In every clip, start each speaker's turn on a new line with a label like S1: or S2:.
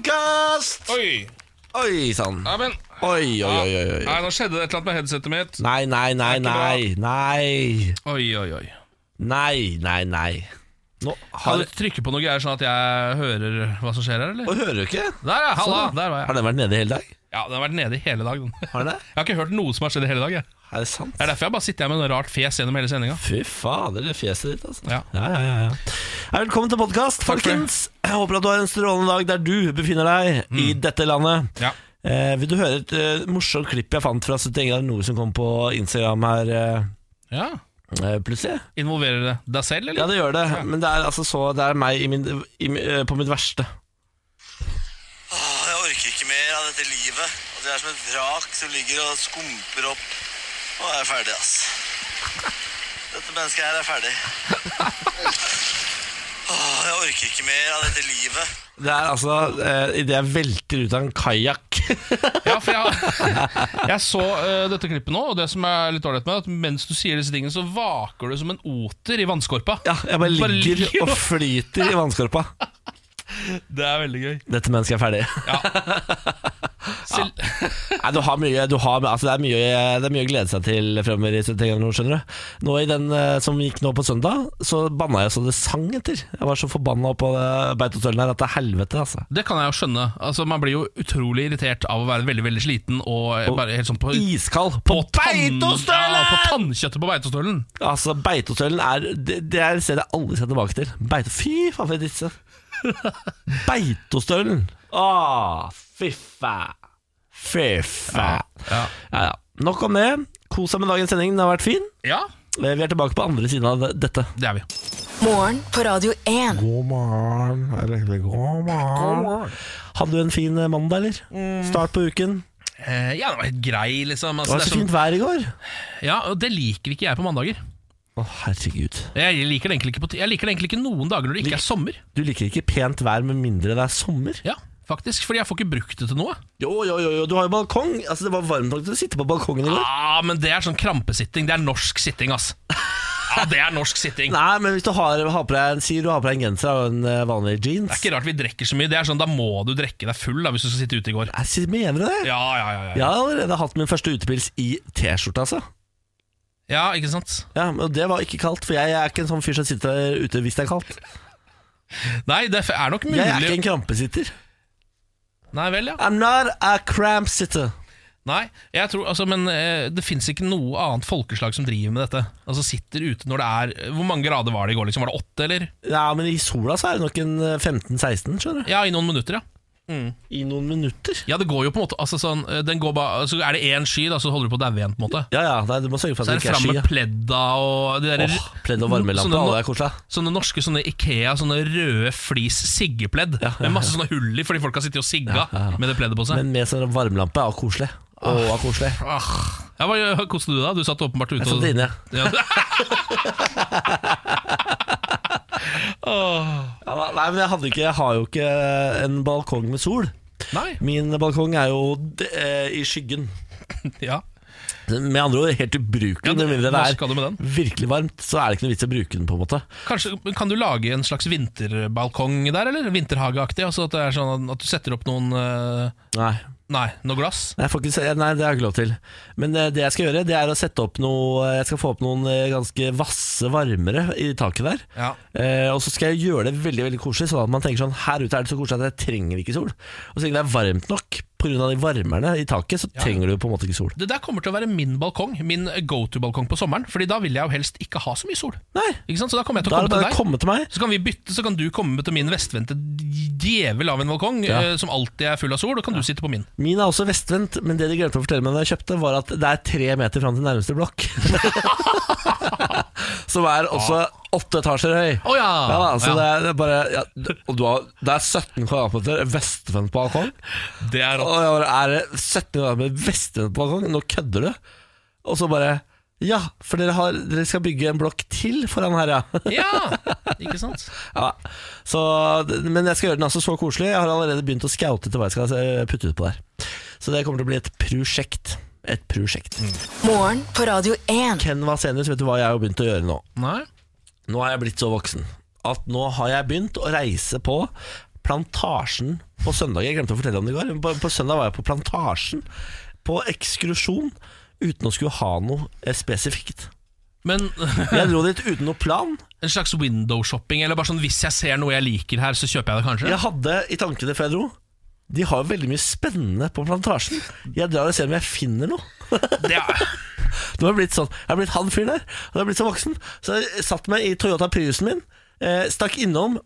S1: podkast!
S2: Oi!
S1: Oi sann.
S2: Nei, men
S1: Oi, oi, oi, oi, oi.
S2: Nei, nå skjedde det et eller annet med headsetet mitt.
S1: Nei, nei, nei, nei. Nei,
S2: Oi, oi, oi.
S1: nei, nei. nei. Nå
S2: Kan
S1: har
S2: du trykke på noe greier sånn at jeg hører hva som skjer her,
S1: Å,
S2: eller?
S1: Hører du ikke?
S2: Der, ja. Halla.
S1: Sånn.
S2: Der var jeg.
S1: Har den vært nede hele dag?
S2: Ja, Den har vært nede i hele dag. den.
S1: Har den det?
S2: Jeg har ikke hørt noe som har skjedd i hele dag. Jeg.
S1: Er det sant?
S2: Det er derfor jeg bare sitter her med noe rart fjes gjennom hele sendinga.
S1: Fy fader, det fjeset ditt, altså.
S2: Ja.
S1: Ja, ja, ja, ja. Hei, Velkommen til podkast,
S2: Takk for det.
S1: folkens. Jeg håper at du har en strålende dag der du befinner deg i
S2: Mm.
S1: dette landet.
S2: Ja.
S1: Eh, vil du høre et eh, morsomt klipp jeg fant fra 70 grader nord som kom på Instagram her eh,
S2: ja.
S1: eh, plutselig?
S2: Involverer det deg selv,
S1: Ja,
S2: eller?
S1: det gjør det, men det er altså så Det er meg i min, i, mi- eh, på mitt verste.
S3: Åh, jeg orker ikke mer av dette livet. At jeg er som et vrak som ligger og skumper opp. Nå er jeg ferdig, ass. Dette mennesket her er ferdig. Åh, jeg orker ikke mer av dette livet.
S1: Det er altså eh, idet jeg velter ut av en kajakk.
S2: Ja, for jeg, jeg så eh, dette klippet nå, og det som er litt ålreit med det, er at mens du sier disse tingene, så vaker du som en oter i vannskorpa.
S1: ja, jeg bare
S2: Bare
S1: ligger
S2: ligger
S1: og flyter i vannskorpa.
S2: Det er veldig gøy.
S1: Dette mennesket er ferdig.
S2: Selv,
S1: Nei, du har mye, du har, altså det, er mye, det er mye å glede seg til fremover i 70 ganger nord, skjønner du. Nå i den eh, som gikk nå på søndag, så banna jeg så det sang etter. Jeg var så forbanna på eh, Beitostølen her at det er helvete, altså.
S2: Det kan jeg jo skjønne. Altså, Man blir jo utrolig irritert av å være veldig veldig sliten og bare helt sånn på,
S1: Iskald
S2: på
S1: på
S2: tann- Ja, på
S1: Beitostølen!
S2: tannkjøttet på Beitostølen!
S1: Altså, Beitostølen er det, det er et sted jeg aldri skal tilbake til. Beito, fy faen, for en disse. Beitostølen! Å, fy faen. Fy faen.
S2: Ja.
S1: Ja, ja. Nok om det. Kos deg med dagens sending, den har vært fin. Eh,
S2: ja,
S1: Vi er tilbake på andre siden av dette.
S2: det er vi.
S4: Morgen på Radio 1.
S5: God morgen. Eller god morgen. Mm.
S1: Hadde du en fin eh, mandag, eller? Start på uken.
S2: Eh, ja, det var helt grei, liksom.
S1: Det var
S2: Altså, det,
S1: så
S2: er sånn,
S1: fint vær i går.
S2: ja, og det liker ikke jeg på mandager.
S1: Å, herregud.
S2: Jeg liker, det egentlig ikke på, ti- jeg liker det egentlig ikke noen dager når det ikke er sommer.
S1: Du liker ikke pent vær med mindre det er sommer?
S2: Ja, faktisk, Fordi jeg får ikke brukt det til noe.
S1: Jo, jo, jo, jo. du har jo balkong. Altså, det var varmt nok til å sitte på balkongen i går.
S2: Ah, men det er sånn krampesitting. Det er norsk sitting, ass. Ja, det er norsk sitting.
S1: Nei, men hvis du har, har på deg en sier du har på deg en genser og en eh, vanlig jeans
S2: Det er ikke rart vi drikker så mye. Det er sånn, Da må du drikke deg full da, hvis du skal sitte ute i går.
S1: Jeg sier- Mener du det?
S2: Ja, ja, ja, ja.
S1: Jeg har allerede hatt min første utepils i T-skjorte, altså.
S2: ja ikke sant?
S1: Ja, men Det var ikke kaldt, for jeg er ikke en sånn fyr som sitter ute hvis det er kaldt.
S2: Nei, det er nok mulig
S1: Jeg er ikke en krampesitter.
S2: Nei vel, ja.
S1: I'm not a cramp sitter.
S2: Nei, jeg tror, altså, men eh, det fins ikke noe annet folkeslag som driver med dette. Altså Sitter ute når det er Hvor mange grader var det i går? liksom? Var det åtte, eller?
S1: Ja, men i sola så er det nok en eh, 15-16, skjønner du.
S2: Ja, i noen minutter, ja.
S1: I noen minutter.
S2: Ja, det går jo på en måte altså, sånn, eh, den går ba, altså, Er det én sky, da, så holder du på å daue igjen, på en måte.
S1: Ja, ja, nei, du må sørge for
S2: Så
S1: at
S2: er
S1: det
S2: det
S1: ikke er
S2: fram
S1: sky.
S2: med sånn
S1: ja.
S2: pledda og de der,
S1: Åh, pledd og varmelampe,
S2: Sånne,
S1: å, det er koselig.
S2: sånne norske sånne Ikea, sånne røde flis siggepledd. Med masse sånne hull i fordi folk har sittet og sigga med det pleddet på seg.
S1: Men med sånn varmelampe er koselig. Å, er koselig.
S2: Ah. Ja, hva koste du deg? da? Du satt åpenbart ute
S1: Jeg satt inne.
S2: Ja. Åh.
S1: Ja, da- nei, men jeg, hadde ikke, jeg har jo ikke eh, en balkong med sol.
S2: Nei.
S1: Min balkong er jo d- eh, i skyggen.
S2: Ja.
S1: Med andre ord helt ubrukelig.
S2: Ja, det-
S1: med mindre
S2: hva
S1: det
S2: skal du med den?
S1: er virkelig varmt, så er det ikke noe vits i å bruke den. på en måte
S2: Kanskje, men kan du lage en slags vinterbalkong der, eller? Vinterhageaktig? Altså at, det er sånn at du setter opp noen eh,
S1: Nei,
S2: Nei, noe glass?
S1: jeg får ikke, se- nei det har jeg ikke lov til. Men eh, det jeg skal gjøre, Det er å sette opp noe Jeg skal få opp noen eh, ganske vasse varmere i taket der.
S2: Ja.
S1: Eh, og så skal jeg gjøre det veldig veldig koselig, sånn at man tenker sånn Her ute er det så koselig at jeg trenger ikke sol. Og så lenge det er varmt nok pga. de varmerne i taket, så trenger du på en måte ikke sol.
S2: Det der kommer til å være min balkong, min go to-balkong på sommeren. Fordi da vil jeg jo helst ikke ha så mye sol.
S1: Nei,
S2: Ikke sant? Så da kommer jeg til
S1: da
S2: å
S1: er det
S2: komme til
S1: bare å komme til
S2: deg.
S1: meg.
S2: Så kan vi bytte, så kan du komme til min vestvendte djevel av en balkong,
S1: Ja.
S2: eh, som alltid er full av sol, og kan du sitte på min.
S1: Min er også vestvendt, men det de glemte å fortelle meg da jeg kjøpte, var at det er tre meter fram til nærmeste blokk. Som er også åtte etasjer høy.
S2: Å ja.
S1: da, så
S2: Ah. Ja.
S1: Det, er, det er bare ja, Og du har, det er 17 kvadratmeter vestvendt balkong.
S2: Det er
S1: Og jeg bare, er det 17 grader med vestene på balkong? Nå kødder du? Og så bare Ja, for dere, har, dere skal bygge en blokk til foran her, ja.
S2: Ja, ikke sant?
S1: ja. Så, men jeg skal gjøre den altså så koselig. Jeg har allerede begynt å scoute til hva jeg skal eh, putte ut på der. Så det kommer til å bli et prosjekt. Et prosjekt.
S4: Morgen på Radio 1.
S1: Ken Vasenius, vet du hva jeg har begynt å gjøre nå?
S2: Nei.
S1: Nå har jeg blitt så voksen at nå har jeg begynt å reise på Plantasjen på søndag. Jeg glemte å fortelle om det i går. men På, på søndag var jeg på Plantasjen på ekskursjon uten å skulle ha noe eh, spesifikt.
S2: Men
S1: Jeg dro dit uten noe plan.
S2: en slags window-shopping, eller bare sånn hvis jeg ser noe jeg liker her, så kjøper jeg det kanskje?
S1: Jeg hadde i tankene før jeg dro De har jo veldig mye spennende på plantasjen Jeg drar og ser om jeg finner noe
S2: Det er,
S1: Nå har jeg blitt sånn Jeg har blitt han fyr der Og jeg har blitt så voksen Så jeg satt meg i Toyota Priusen min eh, Stakk innom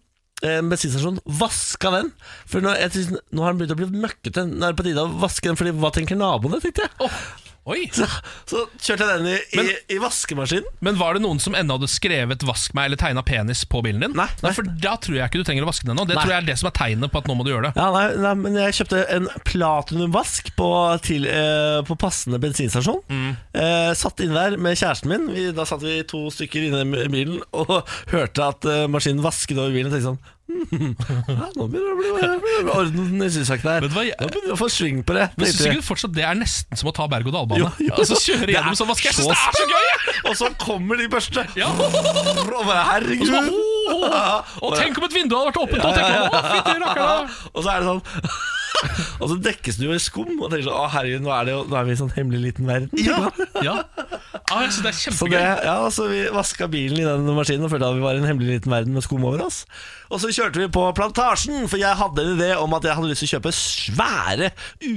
S1: eh, en bensinstasjon Vaska den For nå, jeg, synes- nå har den begynt å bli møkkete Nå er det på tide å vaske den Fordi hva tenker naboene, tenkte jeg
S2: Åh, oi!
S1: så, så kjørte jeg den i, i,
S2: Men-
S1: i vaskemaskinen
S2: Men var det noen som ennå hadde skrevet 'vask meg' eller tegna penis på bilen din?
S1: Nei, nei.
S2: For da tror jeg ikke du trenger å vaske den ennå. Det
S1: Nei.
S2: tror jeg er det som er tegnet på at nå må du gjøre det.
S1: Ja, nei, nei, men jeg kjøpte en platinumvask på, til, eh, på passende bensinstasjon.
S2: Mm.
S1: Eh, satt inne der med kjæresten min. Vi, da satt vi to stykker inne i bilen og hørte at eh, maskinen vasket over bilen. Og tenkte sånn «Hmm, ja, Nå begynner det å bli- begynner det å bli orden i sysakene her.
S2: Vet du hva, jeg-
S1: Nå begynner vi å få sving på det.
S2: Men synes
S1: tenkte
S2: du
S1: jeg.
S2: ikke fortsatt det er nesten som å ta berg-og-dal-bane?
S1: Jo, jo.
S2: Altså kjøre
S1: Det er
S2: gjennom sånn vask. Jeg
S1: så
S2: synes det er så gøy! jeg!
S1: Og så kommer de børste.
S2: Ja.
S1: Og bare herregud.
S2: Og så bare, Og tenk om et vindu hadde vært åpent! Og tenk om, å, fytti rakkeren, da.
S1: Og så er det sånn Og så dekkes du jo i skum og tenker sånn Å herregud, nå er, det jo, nå er vi i en sånn hemmelig liten verden
S2: Ja. ja. Ah, jeg synes det er
S1: Så, det,
S2: kjempegøy.
S1: ja, så vi vaska bilen i den maskinen og følte at vi var i en hemmelig liten verden med skum over oss. Og så kjørte vi på Plantasjen, for jeg hadde en idé om at jeg hadde lyst til å kjøpe svære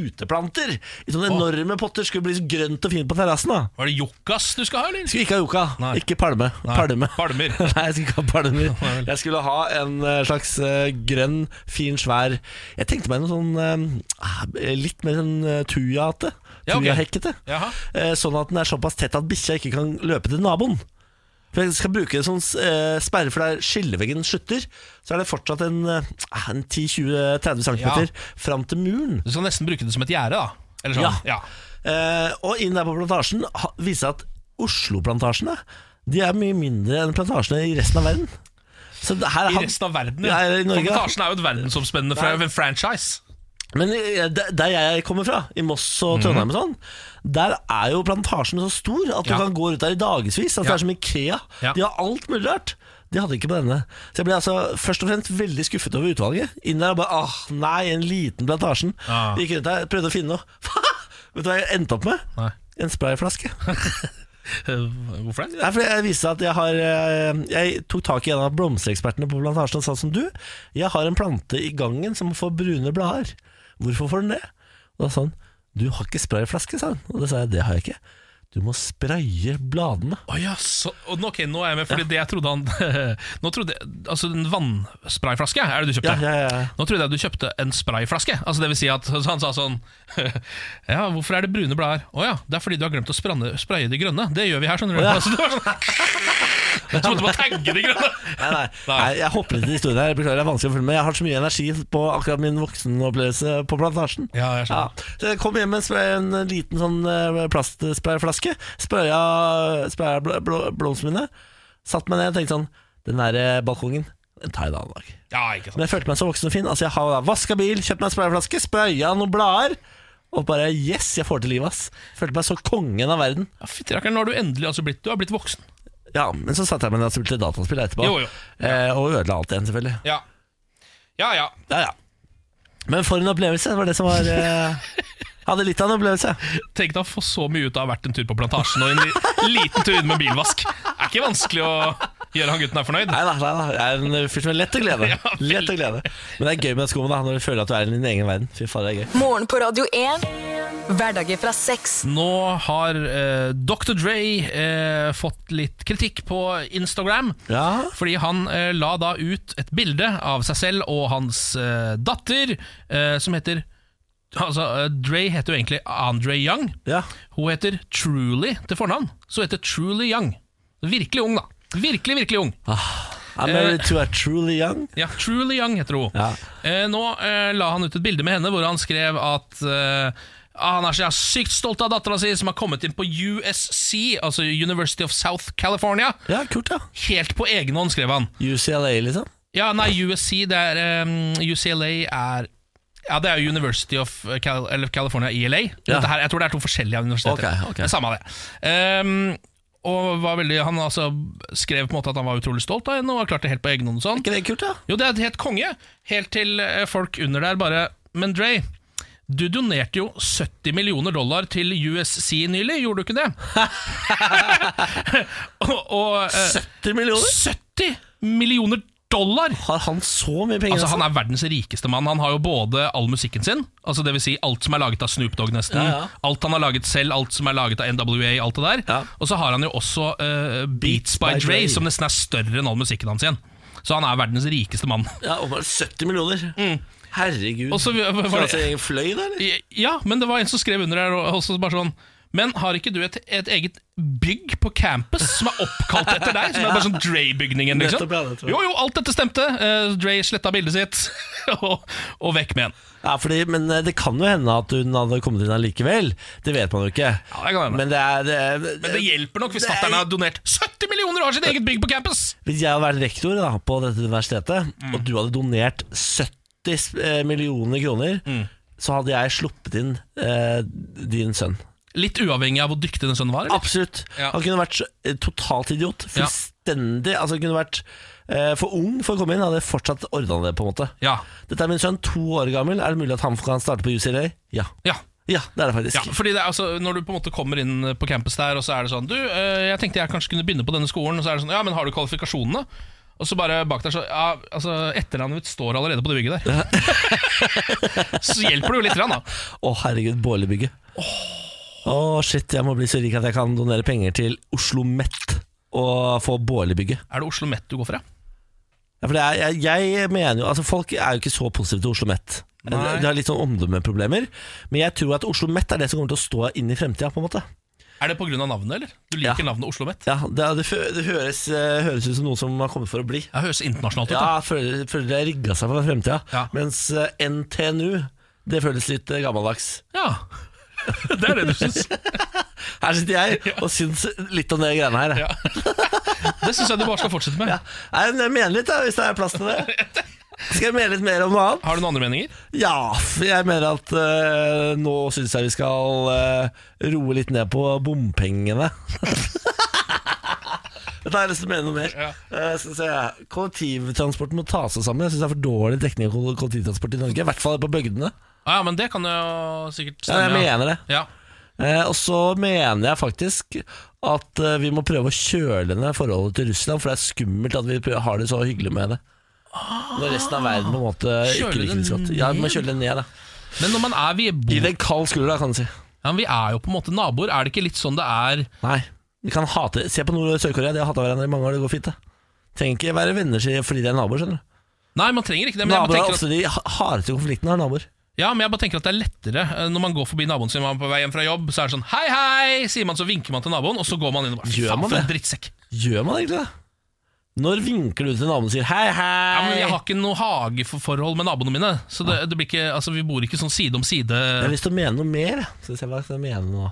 S1: uteplanter. I sånne enorme potter skulle bli så grønt og fint på terrassen. da
S2: Var det Jokkas du skal ha, eller?
S1: Skulle ikke ha yucca,
S2: Nei.
S1: ikke palme.
S2: Nei,
S1: palme.
S2: palmer.
S1: Nei, jeg skulle ikke ha palmer. Jeg skulle ha en eh, slags eh, grønn, fin, svær Jeg tenkte meg noe sånn eh, ah, litt mer sånn eh, tujate.
S2: Ja, ok.
S1: Tujahekkete.
S2: Jaha.
S1: Eh, Sånn at den er såpass tett at bikkja ikke kan løpe til naboen. For Jeg skal bruke en sånn eh, sperre, for der skilleveggen slutter. Så er det fortsatt en, eh, en 10-20-30 cm
S2: Ja.
S1: fram til muren.
S2: Du skal nesten bruke det som et gjerde, da. Eller sånn.
S1: Ja.
S2: Ja.
S1: Eh, og inn der på plantasjen ha- viser at Oslo-plantasjene De er mye mindre enn plantasjene i resten av verden. Så det her
S2: I
S1: han-
S2: resten av verden.
S1: Ja,
S2: Ja.
S1: eller i Norge, da.
S2: Plantasjen er jo et verdensomspennende fra en franchise.
S1: Men eh, der der jeg kommer fra, i Moss og
S2: Mhm.
S1: Trondheim og sånn, der er jo plantasjen så stor at du
S2: Ja.
S1: kan gå rundt der i dagevis. Altså
S2: Ja.
S1: Det er som Ikea.
S2: Ja.
S1: De har alt mulig rart. De hadde ikke på denne. Så jeg ble altså først og fremst veldig skuffet over utvalget. Inn der og bare ah, nei, en liten plantasjen.
S2: Ah.
S1: Gikk rundt der, prøvde å finne noe. Vet du hva jeg endte opp med?
S2: Nei. Eh,
S1: En sprayflaske.
S2: Hvorfor det?
S1: Nei, fordi jeg viste at jeg har eh, Jeg tok tak i en av blomsterekspertene på plantasjen og sa som du, jeg har en plante i gangen som får brune blader. Hvorfor får den det? Og da sa han, du har ikke sprayflaske, sa han. Og da sa jeg, det har jeg ikke. Du må spraye bladene.
S2: Å ja, så, og, nå- ok, nå er jeg med, fordi det jeg trodde han Nå trodde jeg, Altså, en vannsprayflaske er det du kjøpte?
S1: Ja, ja, ja.
S2: Nå trodde jeg du kjøpte en sprayflaske. Altså, det vil si at så han sa sånn Ja, hvorfor er det brune blader? Å ja, det er fordi du har glemt å spranne, spraye de grønne. Det gjør vi her, skjønner du.
S1: ja.
S2: Altså, det var sånn, jeg trodde bare tagge de grønne.
S1: Nei, nei, nei, jeg hopper litt i historien her. Jeg Beklager, det er vanskelig å følge med. Jeg har så mye energi på akkurat min voksenopplevelse på plantasjen.
S2: Ja, jeg skjønner.
S1: Så jeg kom hjem med en spray- en liten sånn eh, plastsprayflaske. Spraya, spraya bl bl blomstene mine. Satt meg ned og tenkte sånn Den der eh, balkongen, den tar jeg en annen dag.
S2: Ja, ikke sant.
S1: Men jeg følte meg så voksen og fin. Altså, jeg har vaska bil, kjøpt meg en sprayflaske, spraya noen blader. Og bare yes, jeg får til livet, ass. Følte meg så kongen av verden.
S2: Ja, Fytti rakkeren, nå har du endelig altså blitt Du har blitt voksen.
S1: Ja, Men så satte jeg meg ned og spilte dataspill etterpå.
S2: Jo, jo.
S1: Eh, og ødela alt igjen, selvfølgelig.
S2: Ja. Ja ja.
S1: Ja, ja. Men for en opplevelse, det var det som var eh, Hadde litt av en opplevelse.
S2: Tenk deg å få så mye ut av å ha vært en tur på plantasjen og en li liten tur inn med bilvask. Er ikke vanskelig å gjøre han gutten her fornøyd.
S1: Nei da, nei da. Jeg er en fyr som er lett å glede.
S2: Ja, veldig.
S1: lett å glede. Men det er gøy med den skoen da, når du føler at du er i din egen verden. Fy faen, det er gøy.
S4: Morgen på Radio 1. Hverdager fra seks.
S2: Nå har eh, Dr. Dre eh, fått litt kritikk på Instagram.
S1: Ja.
S2: Fordi han eh, la da ut et bilde av seg selv og hans eh, datter, eh, som heter Altså, eh, Dre heter jo egentlig Andre Young.
S1: Ja.
S2: Hun heter Truly til fornavn. Så hun heter Truly Young. Virkelig ung, da. Virkelig, virkelig ung.
S1: I'm
S2: Eh.
S1: married to a truly young.
S2: Ja, Truly Young heter hun.
S1: Ja.
S2: Eh, nå eh, la han ut et bilde med henne hvor han skrev at eh, ah, han er så sykt stolt av dattera si, som har kommet inn på USC, altså University of South California.
S1: Ja, kult, ja.
S2: Helt på egen hånd, skrev han.
S1: UCLA, liksom.
S2: Ja, nei, USC, det er eh, UCLA er ja, det er jo University of eh, Cal eller California E i LA.
S1: Ja.
S2: Dette her, jeg tror det er to forskjellige universiteter.
S1: Ok, ok.
S2: Det er Samme av det. Um, Og var veldig, han altså skrev på en måte at han var utrolig stolt av henne og har klart det helt på egen hånd. og Sånn.
S1: ikke det kult, da?
S2: Jo, det er helt konge, helt til eh, folk under der bare Men Dre, du donerte jo 70 millioner dollar til USC nylig, gjorde du ikke det? og, og eh,
S1: 70 millioner?
S2: 70 millioner dollar!
S1: Har han så mye penger?
S2: Altså, han er verdens rikeste mann. Han har jo både all musikken sin, altså det vil si alt som er laget av Snoop Dogg nesten,
S1: Ja, ja.
S2: alt han har laget selv, alt som er laget av NWA, alt det der.
S1: Ja.
S2: Og så har han jo også eh, Beats, by, Dre, som nesten er større enn all musikken hans igjen. Så han er verdens rikeste mann.
S1: altså? Ja, og bare 70 millioner. Herregud.
S2: Mm. Og så var det-
S1: Skal han ha sin egen fløy, da? eller?
S2: Ja, men det var en som skrev under her og- også bare sånn men har ikke du et, et eget bygg på campus som er oppkalt etter deg? Som er bare sånn Dre-bygningen, liksom?
S1: Nettopp, ja, det tror jeg.
S2: Jo, jo, alt dette stemte. Eh, Dre sletta bildet sitt, og, og vekk med en.
S1: Ja, fordi, men eh, det kan jo hende at hun hadde kommet inn allikevel. Det vet man jo ikke.
S2: Ja, det kan hende.
S1: Men det er, det er
S2: Men det hjelper nok
S1: Det
S2: hvis
S1: er-
S2: fatter'n har donert 70 millioner og har sitt eget bygg på campus!
S1: Hvis jeg hadde vært rektor da, på dette universitetet,
S2: Mm.
S1: og du hadde donert 70 eh, millioner kroner,
S2: Mm.
S1: så hadde jeg sluppet inn eh, din sønn.
S2: Litt uavhengig av hvor dyktig den sønnen var. Eller?
S1: Absolutt.
S2: Ja.
S1: Han kunne vært så- eh, totalt idiot.
S2: Ja.
S1: Fullstendig. Altså, han kunne vært eh, for ung for å komme inn. Hadde jeg fortsatt ordna det, på en måte.
S2: Ja,
S1: Dette er min sønn, to år gammel. Er det mulig at han kan starte på UCLA? Ja.
S2: ja.
S1: Ja, det er det
S2: Ja,
S1: faktisk.
S2: fordi det er altså Når du på en måte kommer inn på campus der, og så er det sånn Du, eh, jeg tenkte jeg kanskje kunne begynne på denne skolen, og så er det sånn Ja, men har du kvalifikasjonene? Og så bare bak der så Ja, altså, etternavnet mitt står allerede på det bygget der. så hjelper det jo litt, grann, da.
S1: Å, herregud, Bålebygget. Å, shit, jeg må bli så rik at jeg kan donere penger til Oslo Met og få Bålebygget.
S2: Er det Oslo Met du går for, ja?
S1: Ja, for det er, jeg, jeg mener jo Altså Folk er jo ikke så positive til Oslo Met. De
S2: Nei.
S1: har litt sånn omdømmeproblemer. Men jeg tror at Oslo Met er det som kommer til å stå inn i fremtida. på en måte.
S2: Er det pga. navnet, eller? Du liker navnet Oslo Met?
S1: Ja, Det, det, fø- det høres, eh, høres ut som noe som har kommet for å bli.
S2: Det høres internasjonalt ut. da
S1: Ja, Føler, føler det rigga seg for fremtida.
S2: Ja.
S1: Mens eh, NTNU, det føles litt eh, gammeldags.
S2: Ja. det er det du syns.
S1: Her sitter jeg og syns litt om de greiene her.
S2: Ja. Det syns jeg du bare skal fortsette med.
S1: Nei, men jeg mener litt, da, hvis det er plass til det. Skal jeg mene litt mer om noe annet?
S2: Har du noen andre meninger?
S1: Ja, for jeg mener at eh, nå syns jeg vi skal eh, roe litt ned på bompengene. Dette har jeg lyst til å mene noe mer.
S2: Ja.
S1: Eh, skal vi se. Kollektivtransporten må ta seg sammen. Jeg syns det er for dårlig dekning av koll- kollektivtransport i Norge. I hvert fall på bygdene.
S2: Ah, Ja, men det kan jo sikkert
S1: Ja, jeg
S2: stemme.
S1: mener det.
S2: ja.
S1: Eh, og så mener jeg faktisk at eh, vi må prøve å kjøle ned forholdet til Russland, for det er skummelt at vi prø- har det så hyggelig med det. Når resten av verden på en måte
S2: Kjøle
S1: ikke liker det så
S2: det
S1: godt. Ja, vi må kjøle det ned, da.
S2: Men når man er vi
S1: Gi
S2: bor,
S1: det en kald skulder, da, kan du si.
S2: ja, men Vi er jo på en måte naboer. Er det ikke litt sånn det er
S1: Nei, vi kan hate Se på Nord- og Sør-Korea, de har hata hverandre i mange år, det går fint det Trenger ikke være venner si- fordi de er naboer, skjønner du
S2: Nei, man trenger ikke det, men jeg
S1: Naboer altså. er
S2: bare tenker at,
S1: ofte de ha- hardeste konfliktene har naboer
S2: ja, men jeg bare tenker at det er lettere eh, når man går forbi naboen sin man er på vei hjem fra jobb. Så er det sånn hei, hei, sier man, så vinker man til naboen, og så går man inn og bare
S1: Gjør
S2: faen
S1: man
S2: for en
S1: det?
S2: drittsekk.
S1: Gjør man egentlig det? Når vinker du til naboen og sier hei hei
S2: Ja, men jeg har ikke noe hageforhold med naboene mine, så det, det blir ikke, altså, vi bor ikke sånn side om side.
S1: Jeg har lyst til å mene noe mer jeg. Skal vi se hva jeg skal mene nå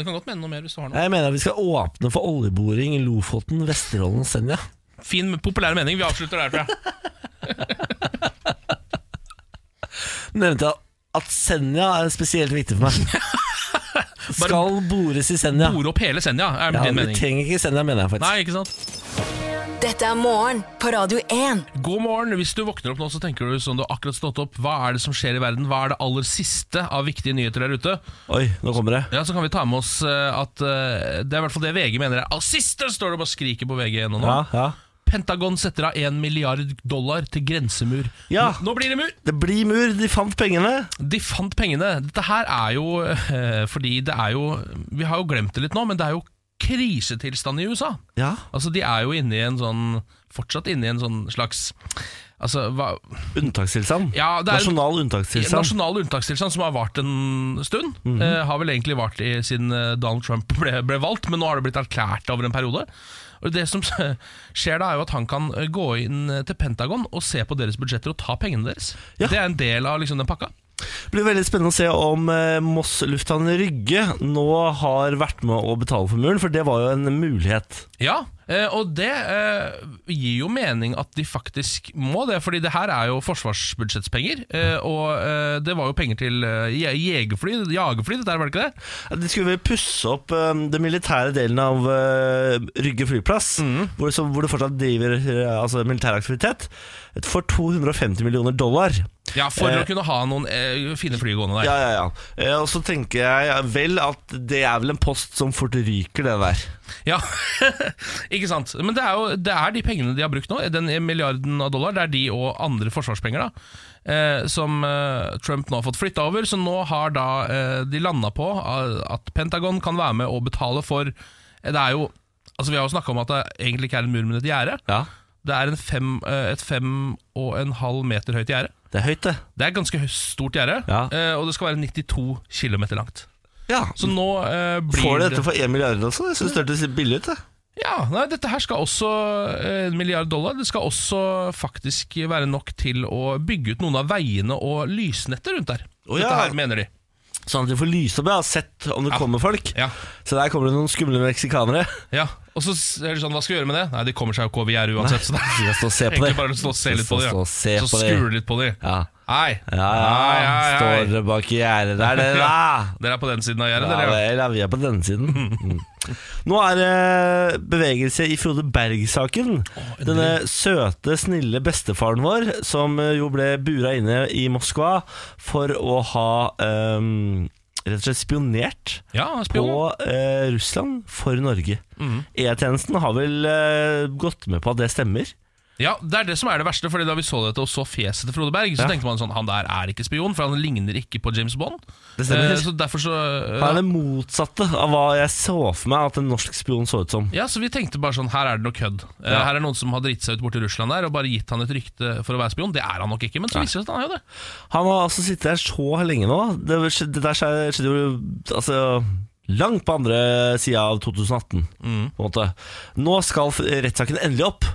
S2: Du kan godt mene noe mer hvis du har noe.
S1: Jeg mener at vi skal åpne for oljeboring i Lofoten, Vesterålen, og Senja
S2: Fin, populær mening. Vi avslutter der, tror jeg.
S1: Nevnte jeg at Senja er spesielt viktig for meg Skal bores i Senja
S2: Bore opp hele Senja, er
S1: ja,
S2: din
S1: Vi
S2: mening.
S1: trenger ikke Senja, mener jeg faktisk
S2: Nei, ikke sant?
S4: Dette er morgen på Radio 1.
S2: God morgen. Hvis du våkner opp nå, så tenker du sånn du har akkurat stått opp. Hva er det som skjer i verden? Hva er det aller siste av viktige nyheter der ute?
S1: Oi, nå kommer det
S2: Ja, Så kan vi ta med oss eh, at eh, det er i hvert fall det VG mener er aller siste, står det og bare skriker på VG nå.
S1: Ja, ja
S2: Pentagon setter av 1 milliard dollar til grensemur.
S1: Ja.
S2: N- Nå blir det mur!
S1: Det blir mur, de fant pengene
S2: De fant pengene. Dette her er jo eh, fordi det er jo Vi har jo glemt det litt nå, men det er jo krisetilstand i USA.
S1: Ja
S2: Altså, de er jo inne i en sånn Fortsatt inne i en sånn slags Altså, hva
S1: Unntakstilstand?
S2: Ja, det er-
S1: Nasjonal unntakstilstand?
S2: Nasjonal unntakstilstand som har vart en stund. eh, har vel egentlig vart i, siden eh, Donald Trump ble, ble valgt, men nå har det blitt erklært over en periode. Og Det som skjer da, er jo at han kan eh, gå inn eh, til Pentagon og se på deres budsjetter og ta pengene deres.
S1: Ja.
S2: Det er en del av liksom den pakka.
S1: Det blir veldig spennende å se om eh, Moss lufthavn Rygge nå har vært med å betale for muren, for det var jo en mulighet.
S2: Ja, Eh, og det eh, gir jo mening at de faktisk må det, fordi det her er jo forsvarsbudsjettspenger. Eh, og eh, det var jo penger til eh, je- jegerfly, jagerfly, dette her, var det ikke det?
S1: De skulle vel pusse opp um, den militære delen av eh, Rygge flyplass, hvor, som, hvor det fortsatt driver eh, altså, militæraktivitet, for 250 millioner dollar.
S2: Ja, For
S1: Eh.
S2: å kunne ha noen eh, fine fly gående der.
S1: Ja, ja, ja. Eh, og så tenker jeg vel at det er vel en post som fort ryker, det der.
S2: Ja, ikke sant. Men det er jo det er de pengene de har brukt nå, den milliarden av dollar, det er de og andre forsvarspenger, da, eh, som eh, Trump nå har fått flytta over. Så nå har da eh, de landa på eh, at Pentagon kan være med og betale for eh, Det er jo Altså Vi har jo snakka om at det egentlig ikke er en mur, men et gjerde.
S1: Ja.
S2: Det er en fem, eh, et fem og en halv meter høyt gjerde.
S1: Det er høyt, det.
S2: Det er et ganske hø- stort gjerde,
S1: Ja.
S2: eh, og det skal være 92 km langt.
S1: Ja.
S2: Så nå eh, blir
S1: Får de dette for 1 milliard også? Jeg synes det hørtes litt billig ut. Det.
S2: Ja, nei, dette her skal også eh, en milliard dollar. Det skal også faktisk være nok til å bygge ut noen av veiene og lysnettet rundt der.
S1: Å,
S2: Dette
S1: ja.
S2: her mener de.
S1: Sånn at de får lyse opp, ja. Sett om det
S2: Ja.
S1: kommer folk.
S2: Ja.
S1: Så der kommer det noen skumle meksikanere.
S2: ja. Og så er det sånn, hva skal vi gjøre med det? Nei, de kommer seg jo ikke over gjerdet uansett. Så det
S1: Så
S2: er
S1: jeg står og ser på
S2: egentlig
S1: det.
S2: bare å stå og se litt på
S1: Stå
S2: dem.
S1: og se
S2: Så
S1: på de.
S2: skule litt på dem.
S1: Ja.
S2: Hei.
S1: Ja,
S2: Hei,
S1: ja,
S2: hei, hei.
S1: står det bak i gjerdet der, dere, da.
S2: Dere er på den siden av
S1: Ja
S2: gjerdet, dere? ja.
S1: vel, ja, vi er på denne siden. Mm. Nå er det bevegelse i Frode Berg-saken. Denne søte, snille bestefaren vår, som eh, jo ble bura inne i Moskva for å ha ehm, rett og slett spionert
S2: Ja, spion.
S1: på eh, Russland for Norge. E-tjenesten har vel eh, gått med på at det stemmer.
S2: Ja, det er det som er det verste, Fordi da vi så dette og så fjeset til Frode Berg, så
S1: Ja.
S2: tenkte man sånn, han der er ikke spion, for han ligner ikke på James Bond.
S1: Det stemmer.
S2: Eh, så derfor så eh,
S1: Det er det motsatte av hva jeg så for meg at en norsk spion så ut som.
S2: Ja, så vi tenkte bare sånn, her er det noe kødd. Eh,
S1: Ja.
S2: Her er noen som har dritt seg ut borti Russland der og bare gitt han et rykte for å være spion. Det er han nok ikke, men så viser det seg at han er jo det.
S1: Han har altså sittet her så lenge nå. Det, skjedde- det der skjedde skjedde jo altså, langt på andre sida av 2018. På en måte. Nå skal f- rettssaken endelig opp.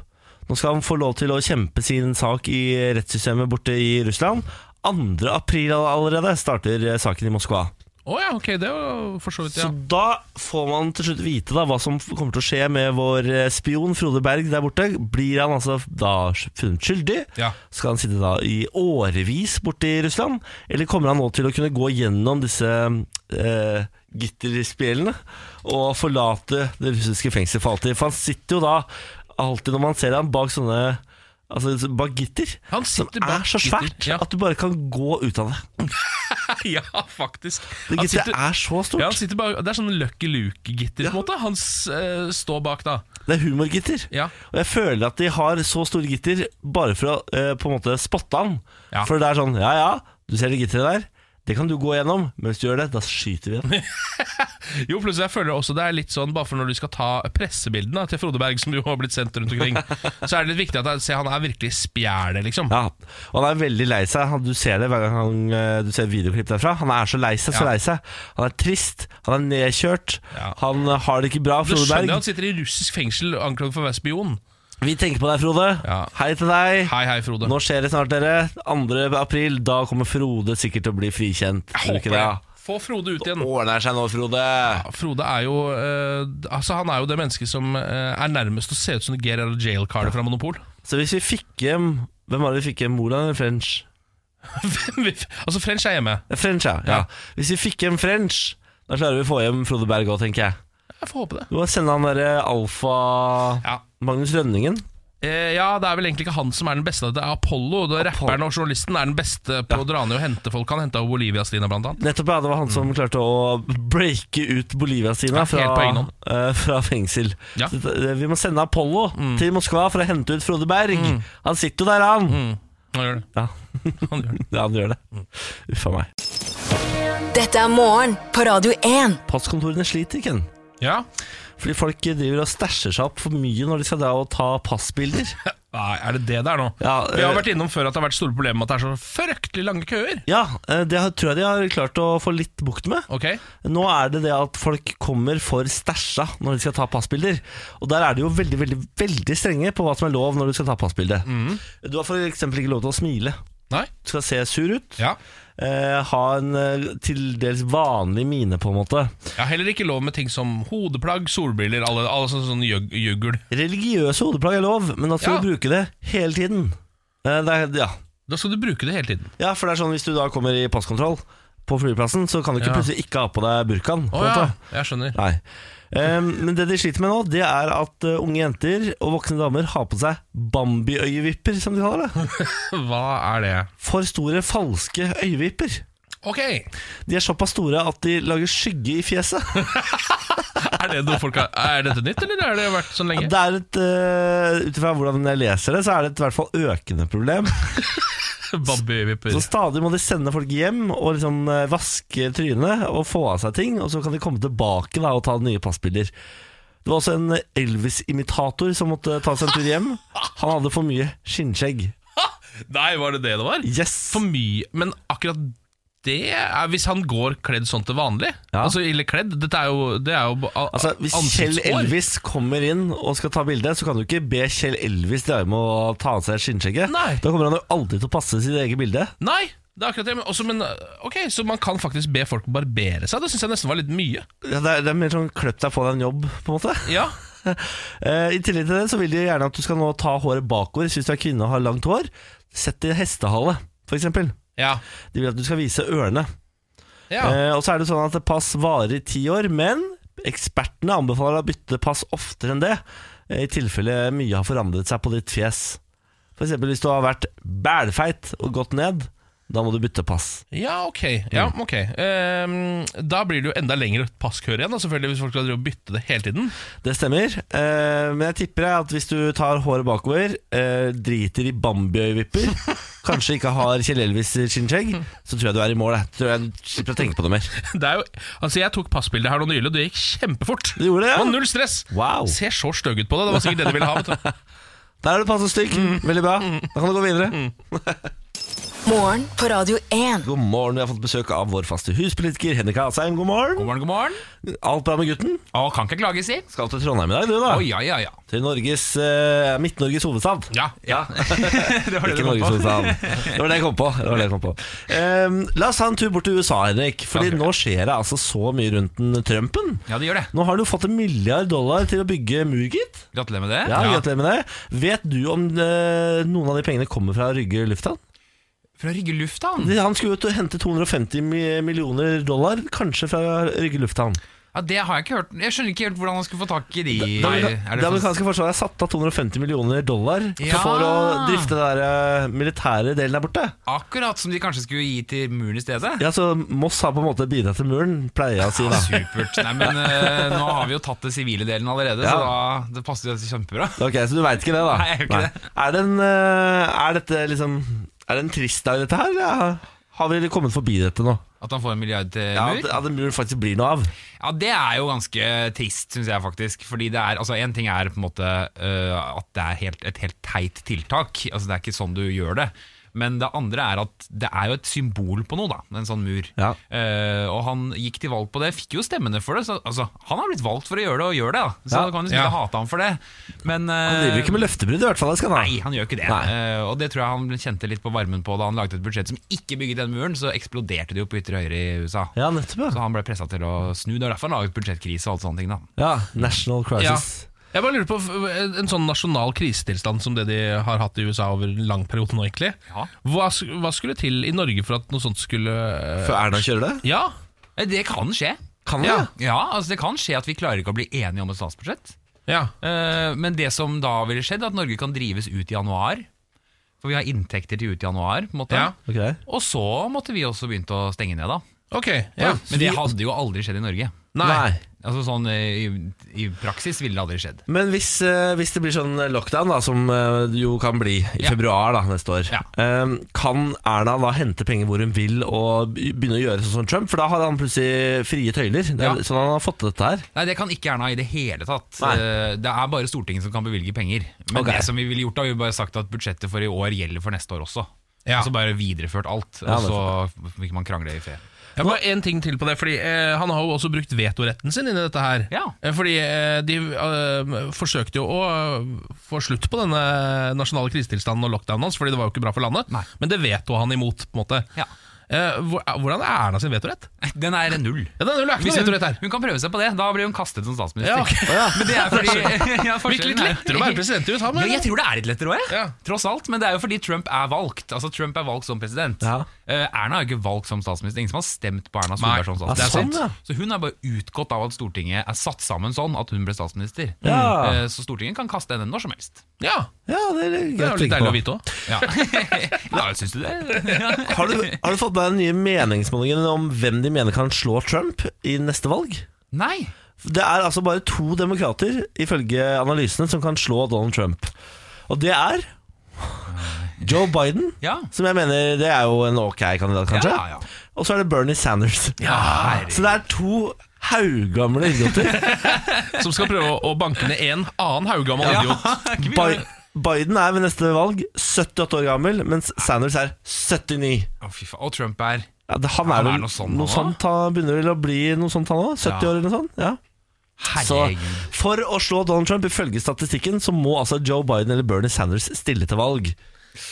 S1: Nå skal han få lov til å kjempe sin sak i rettssystemet borte i Russland. 2. april allerede starter eh, saken i Moskva.
S2: Å ja, ok, det er jo for så vidt, ja.
S1: Så da får man til slutt vite da, hva som kommer til å skje med vår eh, spion Frode Berg der borte. Blir han altså da funnet skyldig?
S2: Ja.
S1: Skal han sitte da i årevis borte i Russland? Eller kommer han nå til å kunne gå gjennom disse eh, gitterspjelene og forlate det russiske fengselet for alltid? For han sitter jo da alltid når man ser han bak sånne Altså bak gitter,
S2: Han
S1: som
S2: sitter
S1: er
S2: bak
S1: så
S2: gitter,
S1: svært
S2: ja.
S1: at du bare kan gå ut av det.
S2: ja, faktisk.
S1: Det
S2: Han
S1: gitteret
S2: sitter,
S1: er så stort.
S2: ja, han sitter bare, det er sånn Lucky Luke-gitter, på en måte. Han s- eh, står bak da.
S1: Det er humorgitter.
S2: Ja.
S1: Og jeg føler at de har så store gitter bare for å eh, på en måte spotte han.
S2: Ja.
S1: For det er sånn Ja ja, du ser det gitteret der. Det kan du gå gjennom, men hvis du gjør det, da skyter vi den.
S2: Jo, plutselig jeg føler også det er litt sånn Bare for når du skal ta pressebildene til Frode Berg, som jo har blitt sendt rundt omkring, så er det litt viktig at jeg, se, han er virkelig spjælet, liksom.
S1: Ja, Og han er veldig lei seg. Han- Du ser det hver gang han, eh, du ser videoklipp derfra. Han er så lei seg, så
S2: Ja.
S1: lei seg. Han er trist. Han er nedkjørt.
S2: Ja.
S1: Han eh, har det ikke bra,
S2: Du
S1: Frode
S2: skjønner jo
S1: Berg.
S2: han sitter i russisk fengsel anklaget for å være spion.
S1: Vi tenker på deg, Frode.
S2: Ja.
S1: Hei til deg.
S2: Hei, hei, Frode.
S1: Nå skjer det snart, dere. 2. april. Da kommer Frode sikkert til å bli frikjent.
S2: Jeg
S1: Tror du
S2: håper
S1: ikke det? ja?
S2: det. Få Frode ut igjen.
S1: Ordner seg nå, Frode.
S2: Ja, Frode er jo eh, Altså Han er jo det mennesket som eh, er nærmest å se ut som Gerard Jail-kardet fra Monopol.
S1: Så hvis vi fikk hjem Hvem var det vi fikk hjem? Moland eller French?
S2: Hvem vil- altså French er hjemme.
S1: Ja, French, ja. ja. Hvis vi fikk hjem French, da klarer vi å få hjem Frode Berg òg, tenker jeg.
S2: Jeg får håpe det.
S1: Du må sende han derre alfa
S2: Ja.
S1: Magnus Rønningen.
S2: Eh, ja, det er vel egentlig ikke han som er den beste. Det er Apollo. Det er Rapperen og journalisten er den beste på å dra ned og hente folk. Han henta Olivia-Stina, blant annet.
S1: Nettopp, ja. Det var han som klarte å breake ut Bolivia-Stina
S2: Mm. Ja, helt
S1: fra,
S2: på egen hånd.
S1: eh, fra fengsel.
S2: Ja. Mm.
S1: Så det- vi må sende Apollo til Moskva for å hente ut Frode Berg. Han sitter jo der, han.
S2: Han gjør det.
S1: Ja.
S2: Mm. Han gjør det. Mm.
S1: ja, han gjør det. Uff a meg.
S4: Dette er morgen på Radio 1.
S1: Passkontorene sliter, Ken.
S2: Ja.
S1: Fordi folk driver og stæsjer seg opp for mye når de skal da og ta passbilder.
S2: Nei, er det det det er nå?
S1: Ja,
S2: Vi har
S1: eh,
S2: vært innom før at det har vært store problemer med at det er så fryktelig lange køer.
S1: Ja, eh, det har- tror jeg de har klart å få litt bukt med.
S2: Ok?
S1: Nå er det det at folk kommer for stæsja når de skal ta passbilder. Og der er de jo
S2: Mhm.
S1: veldig veldig, veldig strenge på hva som er lov når du skal ta passbilde. Du har f.eks. ikke lov til å smile.
S2: Nei?
S1: Skal se sur ut.
S2: Ja.
S1: Eh, ha en eh, til dels vanlig mine, på en måte.
S2: Jeg har heller ikke lov med ting som hodeplagg, solbriller, alle, alle sånne, sånne jøg- juggel.
S1: Religiøse hodeplagg er lov, men at du
S2: Ja.
S1: skal bruke det hele tiden eh, det er, ja.
S2: Da skal du bruke det hele tiden.
S1: ja, for det er sånn hvis du da kommer i passkontroll på flyplassen, så kan du ikke
S2: Ja.
S1: plutselig ikke ha på deg burkaen. på
S2: Å
S1: en
S2: ja,
S1: måte.
S2: jeg skjønner.
S1: Nei. Em, men det de sliter med nå, det er at eh, unge jenter og voksne damer har på seg Bambi-øyevipper, som de kaller det.
S2: Hva er det?
S1: For store, falske øyevipper.
S2: Ok,
S1: De er såpass store at de lager skygge i fjeset.
S2: Er, det noe folk har, er dette nytt, eller har det vært sånn lenge?
S1: Det er et, eh, Ut ifra hvordan jeg leser det, så er det et i hvert fall økende problem.
S2: Bambi-vipper.
S1: Så stadig må de sende folk hjem og liksom eh, vaske trynet og få av seg ting, og så kan de komme tilbake da og ta nye passbilder. Det var også en Elvis-imitator som måtte ta seg en tur hjem. Han hadde for mye skinnskjegg.
S2: Nei, var det det det var?
S1: Yes!
S2: For mye Men akkurat det er Hvis han går kledd sånn til vanlig
S1: Ja.
S2: Altså, eller kledd Dette er jo, det er jo a-
S1: Altså, hvis Kjell
S2: ansiktshår.
S1: Elvis kommer inn og skal ta bilde, så kan du ikke be Kjell Elvis dra med å ta av seg skinnskjegget.
S2: Nei.
S1: Da kommer han jo aldri til å passe sitt eget bilde.
S2: Nei, det er akkurat det men, også, men ok, så man kan faktisk be folk barbere seg Det synes jeg nesten var litt mye
S1: Ja, det, er, det er mer sånn kløpp deg på deg en jobb, på en måte.
S2: Ja,
S1: Eh, I tillegg til det så vil de gjerne at du skal nå ta håret bakover hvis du er kvinne og har langt hår. Sett det i hestehale, f.eks. De
S2: ja,
S1: vil at du skal vise ørene.
S2: ja.
S1: Eh, og så er det sånn at pass varer i ti år, men ekspertene anbefaler å bytte pass oftere enn det, eh, i tilfelle mye har forandret seg på ditt fjes. F.eks. hvis du har vært bælfeit og gått ned, da må du bytte pass.
S2: ja ok, ja,
S1: Mm.
S2: ok Ehm, Da blir det jo enda lengre passkør igjen da, Selvfølgelig hvis folk skal drive og bytte det hele tiden
S1: Det stemmer, eh, men jeg tipper at hvis du tar håret bakover, eh, driter i bambiøyvipper, kanskje ikke har Kjell Elvis skinnskjegg, så tror jeg du er i mål. jeg. Tror jeg du slipper å tenke på det mer.
S2: Det er jo, altså jeg tok passbildet her nå nylig, og det gikk kjempefort.
S1: Det gjorde det, ja.
S2: Og null stress.
S1: Wow.
S2: Ser så støgg ut på det. Det var sikkert det de ville ha. vet du.
S1: Der er du passe stygg. Veldig bra. Da kan du gå videre.
S4: Morgen på Radio 1.
S1: God morgen, vi har fått besøk av vår faste huspolitiker Henrik Asheim. God morgen.
S6: God morgen, god morgen.
S1: Alt bra med gutten?
S6: Å, kan ikke klage, si.
S1: Skal til Trondheim i dag, du,
S6: Å,
S1: da.
S6: ja, ja, ja.
S1: Til Norges eh, Midt-Norges hovedstad.
S6: Ja, ja. det var det du
S1: Ikke
S6: kom
S1: Norges
S6: på.
S1: hovedstad. Det var det jeg kom på. Det var det jeg kom på. Ehm, la oss ta en tur bort til USA, Henrik. Fordi nå skjer det altså så mye rundt den Trumpen.
S6: Ja, det gjør det.
S1: Nå har du fått en milliard dollar til å bygge mur, gitt.
S6: Gratulerer med det.
S1: Ja, gratulerer med det. Vet du om eh, noen av de pengene kommer fra Rygge lufthavn?
S6: Fra Rygge lufthavn.
S1: Han skulle jo hente 250 mi- millioner dollar, kanskje fra Rygge lufthavn.
S6: Ja, det har jeg ikke hørt. Jeg skjønner ikke helt hvordan han skulle få tak i de.
S1: Det,
S6: Nei,
S1: det,
S6: er det for-
S1: amerikanske forsvaret har satt av 250 millioner dollar
S6: Ja.
S1: for å drifte den der eh, militære delen der borte.
S6: Akkurat som de kanskje skulle gi til muren i stedet.
S1: Ja, så Moss har på en måte bidratt til muren, pleier jeg å si. da
S6: Supert. Nei, men eh, nå har vi jo tatt det sivile delen allerede, så da, det passer jo kjempebra.
S1: Ok, Så du veit ikke det, da?
S6: Nei, jeg gjør ikke det.
S1: Er, det en, eh, er dette liksom Er det en trist dag, dette her? eller Har vi kommet forbi dette nå?
S6: At han får en milliard til
S1: Ja,
S6: mur.
S1: at, at en mur faktisk blir noe av.
S6: Ja, det er jo ganske trist, syns jeg faktisk. Fordi det er, altså En ting er på en måte øh, at det er helt, et helt teit tiltak. Altså Det er ikke sånn du gjør det. Men det andre er at det er jo et symbol på noe, da. En sånn mur.
S1: Ja.
S6: Eh, og han gikk til valg på det, fikk jo stemmene for det. Så, altså, han har blitt valgt for å gjøre det, og gjør det. da Så
S1: Ja.
S6: du kan jo ikke
S2: Ja.
S6: hate ham for det. Men eh,
S1: Han driver ikke med løftebrudd, i hvert fall. det Skal han.
S6: Nei,
S1: ha.
S6: han gjør ikke det.
S1: Nei.
S6: Eh, og det tror jeg han kjente litt på varmen på da han lagde et budsjett som ikke bygget den muren. Så eksploderte det jo på ytre høyre i USA.
S1: Ja, nettopp.
S6: Så
S1: Ja.
S6: han ble pressa til å snu. Det er derfor han laget budsjettkrise og alt sånne ting. da
S1: ja National
S2: Ja.
S1: crisis.
S2: Jeg bare lurer på f- En sånn nasjonal krisetilstand som det de har hatt i USA over en lang periode nå, egentlig.
S6: Ja.
S2: Hva, sk- hva skulle til i Norge for at noe sånt skulle eh,
S1: Før Erna kjører det?
S2: Ja,
S6: Eh, Det kan skje.
S1: Kan det?
S6: Ja, altså Det kan skje at vi klarer ikke å bli enige om et statsbudsjett.
S2: ja.
S6: Eh, Men det som da ville skjedd, er at Norge kan drives ut i januar. For vi har inntekter til ut i januar. på en måte
S2: Ja.
S1: Ok.
S6: Og så måtte vi også begynt å stenge ned, da.
S2: Ok. Ja.
S6: Men det hadde jo aldri skjedd i Norge.
S2: Nei.
S6: Altså sånn eh, I, i praksis ville det aldri skjedd.
S1: Men hvis, eh, hvis det blir sånn lockdown, da, som eh, det jo kan bli i
S6: Ja.
S1: februar da, neste år,
S6: Ja.
S1: eh, kan Erna da hente penger hvor hun vil og be- begynne å gjøre sånn som Trump? For da har han plutselig frie tøyler. Det
S6: Ja.
S1: er, Sånn han har fått til dette her.
S6: Nei, Det kan ikke Erna i det hele tatt.
S1: Nei.
S6: Eh, Det er bare Stortinget som kan bevilge penger. Men
S1: Ok.
S6: det som vi ville gjort da, vi ville bare sagt at budsjettet for i år gjelder for neste år også.
S2: Ja.
S6: Og så bare videreført alt,
S1: Ja,
S6: og så vil ikke man krangle i fred.
S2: Ja, bare en ting til på det, fordi eh, Han har jo også brukt vetoretten sin inni dette her.
S6: Ja.
S2: Eh, Fordi eh, De eh, forsøkte jo å eh, få slutt på denne nasjonale krisetilstanden og lockdownen hans, fordi det var jo ikke bra for landet.
S6: Nei.
S2: Men det veto han imot. på en måte
S6: Ja.
S2: Eh, hvor- Hvordan er Erna sin vetorett?
S6: Den er null.
S2: Ja, det er null, det er ikke noe
S6: Hvis
S2: vetorett
S6: hun,
S2: her.
S6: hun kan prøve seg på det. Da blir hun kastet som statsminister.
S2: Ja, ok.
S6: Men det er fordi ja,
S2: Virker litt
S6: forskjellen er-
S2: lettere å være president i USA, men
S6: Ja, jeg tror det er litt lettere òg, jeg.
S2: Ja.
S6: Tross alt. Men det er jo fordi Trump er valgt. Altså, Trump er valgt som president.
S1: Ja.
S6: Eh, Erna er jo ikke valgt som statsminister. Ingen som har stemt på Erna
S2: Nei.
S6: Solberg som
S1: Ja,
S6: statsminister.
S1: sånn, ja.
S6: Så hun er bare utgått av at Stortinget er satt sammen sånn at hun ble statsminister.
S1: Ja.
S6: Eh, Så Stortinget kan kaste henne når som helst.
S2: ja,
S1: Ja, det er
S2: det
S1: greit
S2: er jo
S1: å
S2: litt
S1: tenke på.
S2: deilig å vite òg.
S6: Ja, ja syns du det?
S1: Har du, har du fått med den nye meningsmålingen om hvem de mener kan slå Trump i neste valg?
S6: Nei.
S1: Det er altså bare to demokrater, ifølge analysene, som kan slå Donald Trump. Og det er Joe Biden,
S6: Ja.
S1: som jeg mener det er jo en ok kandidat, kanskje.
S6: Ja, ja.
S1: Og så er det Bernie Sanders. Så det er to haugamle idioter.
S2: Som skal prøve å- å banke ned en annen haugammal idiot.
S1: Bi Biden er ved neste valg 78 år gammel, mens Sanders er 79.
S6: Å, fy faen. Og Trump er
S1: Ja, det, han
S6: Han
S1: er,
S6: er
S1: vel
S6: noe
S1: noe
S6: sånn
S1: sånt,
S6: han
S1: noe
S6: også.
S1: sånt han begynner vel å bli noe sånt han òg? 70
S6: Ja.
S1: år eller noe sånt? Ja. Så
S6: Herregud.
S1: for å slå Donald Trump, ifølge statistikken, så må altså Joe Biden eller Bernie Sanders stille til valg.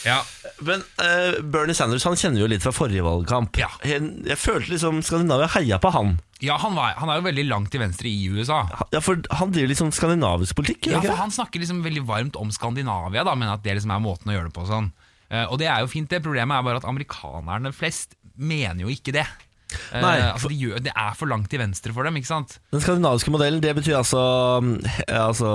S6: Ja.
S1: Men eh, Bernie Sanders han kjenner vi jo litt fra forrige valgkamp.
S6: Ja.
S1: Jeg, jeg følte liksom Skandinavia heia på han.
S6: ja, han, var, han er jo veldig langt til venstre i USA.
S1: Ja, for Han driver litt sånn skandinavisk politikk?
S6: Ja,
S1: gjør
S6: for
S1: ikke det?
S6: Han snakker liksom veldig varmt om Skandinavia, da, men at det liksom er måten å gjøre det på. og sånn. Eh, og det er jo fint, det. Problemet er bare at amerikanerne flest mener jo ikke det. Eh,
S1: Nei,
S6: altså de gjør, Det er for langt til venstre for dem, ikke sant?
S1: Den skandinaviske modellen det betyr altså, mm, he- altså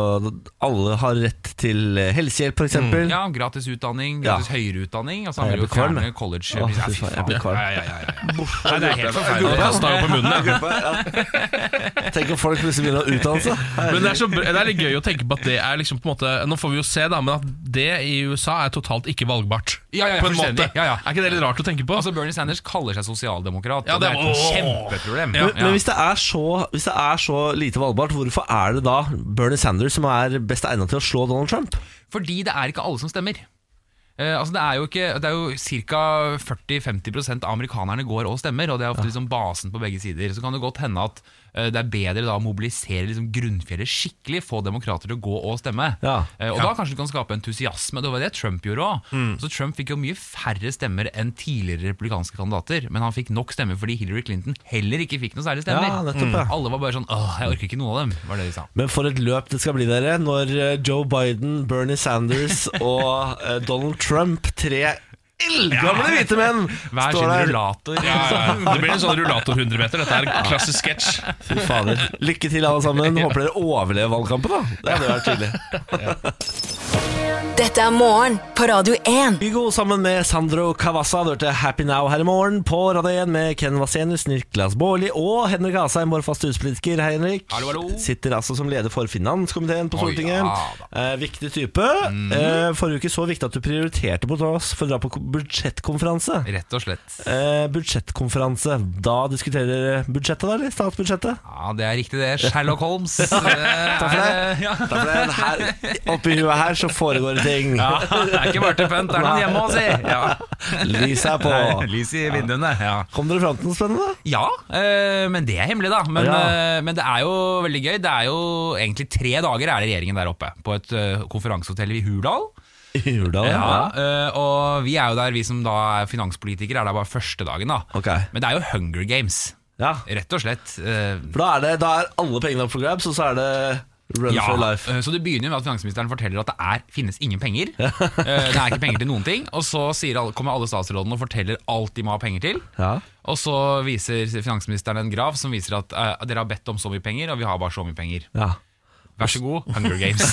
S1: Alle har rett til eh, helsehjelp, f.eks. eksempel
S6: Mm. Ja, Gratis utdanning,
S1: Ja.
S6: gratis høyere utdanning. Altså Han
S1: Nei,
S6: vil jo
S1: jeg blir kvalm,
S6: fjerne
S1: jeg.
S6: college
S1: Å,
S6: Ja,
S1: fy faen, jeg blir kvalm.
S6: Ja, ja, ja, ja, ja. Nei, det er helt forferdelig.
S2: Jeg kastet jo på munnen, jeg.
S1: Tenk om folk plutselig begynner å utdanne seg.
S2: Men det er, så, br- det er litt gøy å tenke på at det er liksom på en måte Nå får vi jo se, da, men at det i USA er totalt ikke valgbart.
S6: Ja, ja, ja,
S2: på en måte.
S6: fullstendig. Ja, ja.
S2: Er ikke det litt rart å tenke på?
S6: Altså Bernie Sanders kaller seg sosialdemokrat,
S2: Ja,
S6: og det
S2: det
S6: er
S2: var-
S6: et kjempeproblem.
S2: Ja.
S1: Men, men hvis, det er så, hvis det er så lite valgbart, hvorfor er det da Bernie Sanders som er best egnet til å slå Donald Trump?
S6: Fordi det er ikke alle som stemmer. Eh, altså det er jo, ikke- det er jo ca. 40-50 av amerikanerne går og stemmer, og det er ofte liksom basen på begge sider. Så kan det godt hende at eh, det er bedre da å mobilisere liksom grunnfjellet skikkelig, få demokrater til å gå og stemme.
S1: Ja. Mm.
S6: Eh, og da kanskje du kan skape entusiasme. Det var det Trump gjorde òg. Så Trump fikk jo mye færre stemmer enn tidligere republikanske kandidater, men han fikk nok stemmer fordi Hillary Clinton heller ikke fikk noe særlig stemmer.
S1: Ja, nettopp, ja.
S6: Alle var bare sånn åh, jeg orker ikke noen av dem, var det de sa.
S1: Men for et løp det skal bli, dere, når eh, Joe Biden, Bernie Sanders og eh, Donald Trump, tre eldgamle hvite menn,
S6: Hver sin rullator.
S2: ja, ja, ja. Det blir en sånn rullator-100-meter. Dette er en klassisk sketsj.
S1: Fy fader. Lykke til, alle sammen. Håper dere overlever valgkampen, da. Det hadde vært tydelig.
S4: Dette er morgen på Radio 1.
S1: Hugo sammen med Sandro Cavazza Du hørte Happy Now her i morgen på Radio 1 med Ken Vasenius, Niklas Baarli og Henrik Asheim, vår faste huspolitiker. Hei, Henrik.
S6: Hallo, hallo.
S1: Sitter altså som leder for finanskomiteen på
S6: Å,
S1: Stortinget.
S6: ja
S1: eh, viktig type. Eh, forrige uke så viktig at du prioriterte på oss for å dra på ko- budsjettkonferanse.
S6: Rett og slett.
S1: Eh, budsjettkonferanse. Da diskuterer dere budsjettet, da, eller? Statsbudsjettet?
S6: Ja, det er riktig det. Sherlock Holmes. Takk for
S1: det.
S6: Ja.
S1: Da ble det her, oppi huet her så foregår det ting.
S6: Ja, det er ikke bare til pynt, det er noen hjemme å si. Ja.
S1: Lyset er på.
S6: Lys i vinduene. Ja,
S1: Kom dere fram til noe spennende?
S6: ja eh, men det er hemmelig, da. Men,
S1: Ja.
S6: eh, men det er jo veldig gøy. Det er jo egentlig tre dager er det regjeringen der oppe, på et eh, konferansehotell i Hurdal.
S1: I Hurdal,
S6: Ja, eh, og vi er jo der, vi som da er finanspolitikere, er der bare første dagen, da.
S1: Ok.
S6: Men det er jo Hunger Games,
S1: ja.
S6: rett og slett. eh,
S1: For da er, det, da er alle pengene opp for grabs, og så er det run
S6: Ja,
S1: for life.
S6: eh, Så det begynner jo med at finansministeren forteller at det er, finnes ingen penger. Eh, Det er ikke penger til noen ting. Og så sier alle, kommer alle statsrådene og forteller alt de må ha penger til.
S1: Ja.
S6: Og så viser finansministeren en grav som viser at eh, dere har bedt om så mye penger, og vi har bare så mye penger.
S1: Ja.
S6: Vær så god, Hunger Games.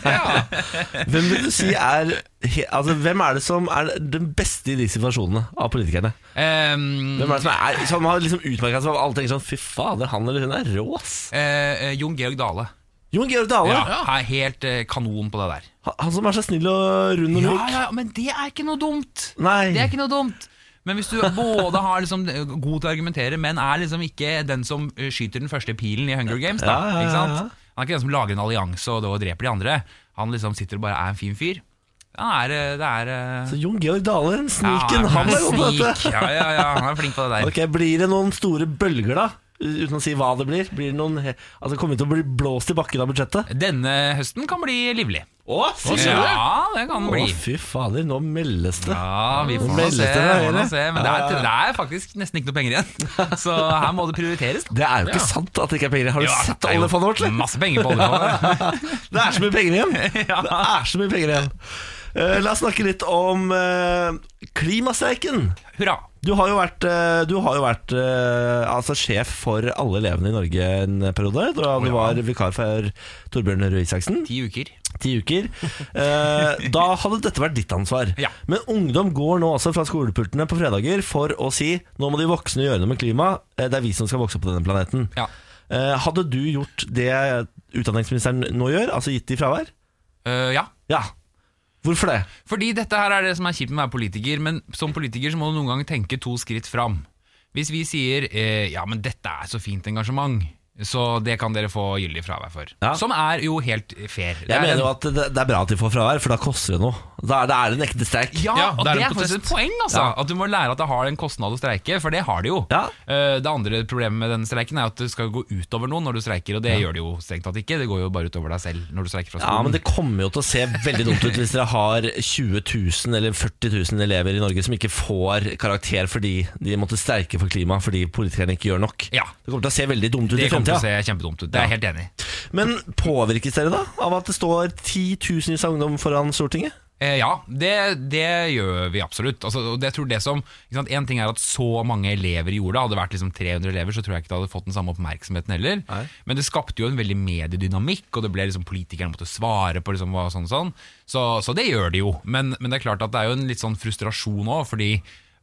S1: Hvem vil du si er he, altså, Hvem er det som er den beste i de situasjonene av politikerne?
S6: Ehm,
S1: Hvem er det som, er, som har liksom utmerka seg, og alle tenker sånn Fy fader, han eller hun er rå, ass.
S6: eh, eh, Jon Georg Dale.
S1: Jon Georg Dale.
S6: Ja, er helt eh, kanon på det der.
S1: Han, han som er så snill og rund og
S6: Ja,
S1: myk.
S6: ja, men det er ikke noe dumt.
S1: Nei.
S6: Det er ikke noe dumt. Men hvis du både har liksom god til å argumentere, men er liksom ikke den som eh, skyter den første pilen i Hunger Games,
S1: Ja,
S6: da,
S1: ja, ja,
S6: ikke
S1: ja.
S6: sant? Han er ikke den som lager en allianse og, da dreper de andre. Han liksom sitter og bare er en fin fyr. Ja, det er, det er eh,
S1: Så Jon Georg Dale,
S6: ja,
S1: sniken, han
S6: er
S1: er god på
S6: snik.
S1: dette.
S6: Ja, ja, ja, han er flink på det der.
S1: Ok, Blir det noen store bølger, da? Uten å si hva det blir. Blir det noen he- Altså Kommer vi til å bli blåst i bakken av budsjettet?
S6: Denne høsten kan bli livlig.
S1: Å, sier du?
S6: Ja, det kan den
S1: Å,
S6: bli.
S1: fy fader, nå meldes det.
S6: Ja, vi får nå
S1: Meldes
S6: se.
S1: det, da,
S6: får nå
S1: eller?
S6: se. Men det er, det er faktisk nesten ikke noe penger igjen. Så her må det prioriteres. da.
S1: Det er jo ikke sant at det ikke er penger. Har du
S6: Ja,
S1: sett
S6: det er jo
S1: oljefondet vårt? eller?
S6: Masse penger på oljefondet.
S1: Det er så mye penger igjen! Det er så mye penger igjen. Eh, la oss snakke litt om uh, klimastreiken.
S6: Hurra.
S1: Du har jo vært, eh, du har jo vært eh, altså sjef for alle elevene i Norge en periode. Da du var vikar for Torbjørn Røe Isaksen.
S6: Ti uker.
S1: Ti uker. Eh, da hadde dette vært ditt ansvar.
S6: Ja.
S1: Men ungdom går nå også fra skolepultene på fredager for å si nå må de voksne gjøre noe med klimaet. Eh, Det er vi som skal vokse opp på denne planeten.
S6: Ja.
S1: Eh, hadde du gjort det utdanningsministeren nå gjør, altså gitt i fravær?
S6: Eh, ja.
S1: Ja. Hvorfor det?
S6: Fordi dette her er det som er kjipt med å være politiker, men som politiker så må du noen gang tenke to skritt fram. Hvis vi sier eh, ja, men dette er så fint engasjement, så det kan dere få gyldig fravær for.
S1: Ja.
S6: Som er jo helt fair. Det er
S1: Jeg mener
S6: en-
S1: jo at det, det er bra at de får fravær, for da koster det noe. Da er da er det en ekte streik.
S6: ja,
S2: Ja,
S6: og
S2: det
S6: det
S2: er
S6: er,
S2: en
S6: faktisk et
S2: protest.
S6: poeng, altså. At du må lære at det har en kostnad å streike, for det har det jo.
S1: Ja.
S6: Eh, Det andre problemet med denne streiken er at det skal gå utover noen når du streiker, og det gjør det jo strengt tatt ikke. Det går jo bare utover deg selv når du streiker fra skolen.
S1: Ja, men det kommer jo til å se veldig dumt ut hvis dere har 20 000 eller 40 000 elever i Norge som ikke får karakter fordi de måtte streike for klima fordi politikerne ikke gjør nok.
S6: Ja.
S1: Det kommer til å se veldig dumt ut i
S6: Det kommer til å
S1: fremtida.
S6: se kjempedumt ut. Det er jeg helt enig i.
S1: Men påvirkes dere da av at det står titusenvis av ungdom foran Stortinget?
S6: Eh, ja, det, det gjør vi absolutt. Altså, og det, jeg tror det som, ikke sant? En ting er at så mange elever gjorde det. Hadde det vært liksom 300 elever, så tror jeg ikke det hadde fått den samme oppmerksomheten heller. Men det skapte jo en veldig mediedynamikk, og det ble liksom politikerne måtte svare på liksom, hva, sånn, sånn. Så, så det gjør det jo. Men, men det er klart at det er jo en litt sånn frustrasjon òg, fordi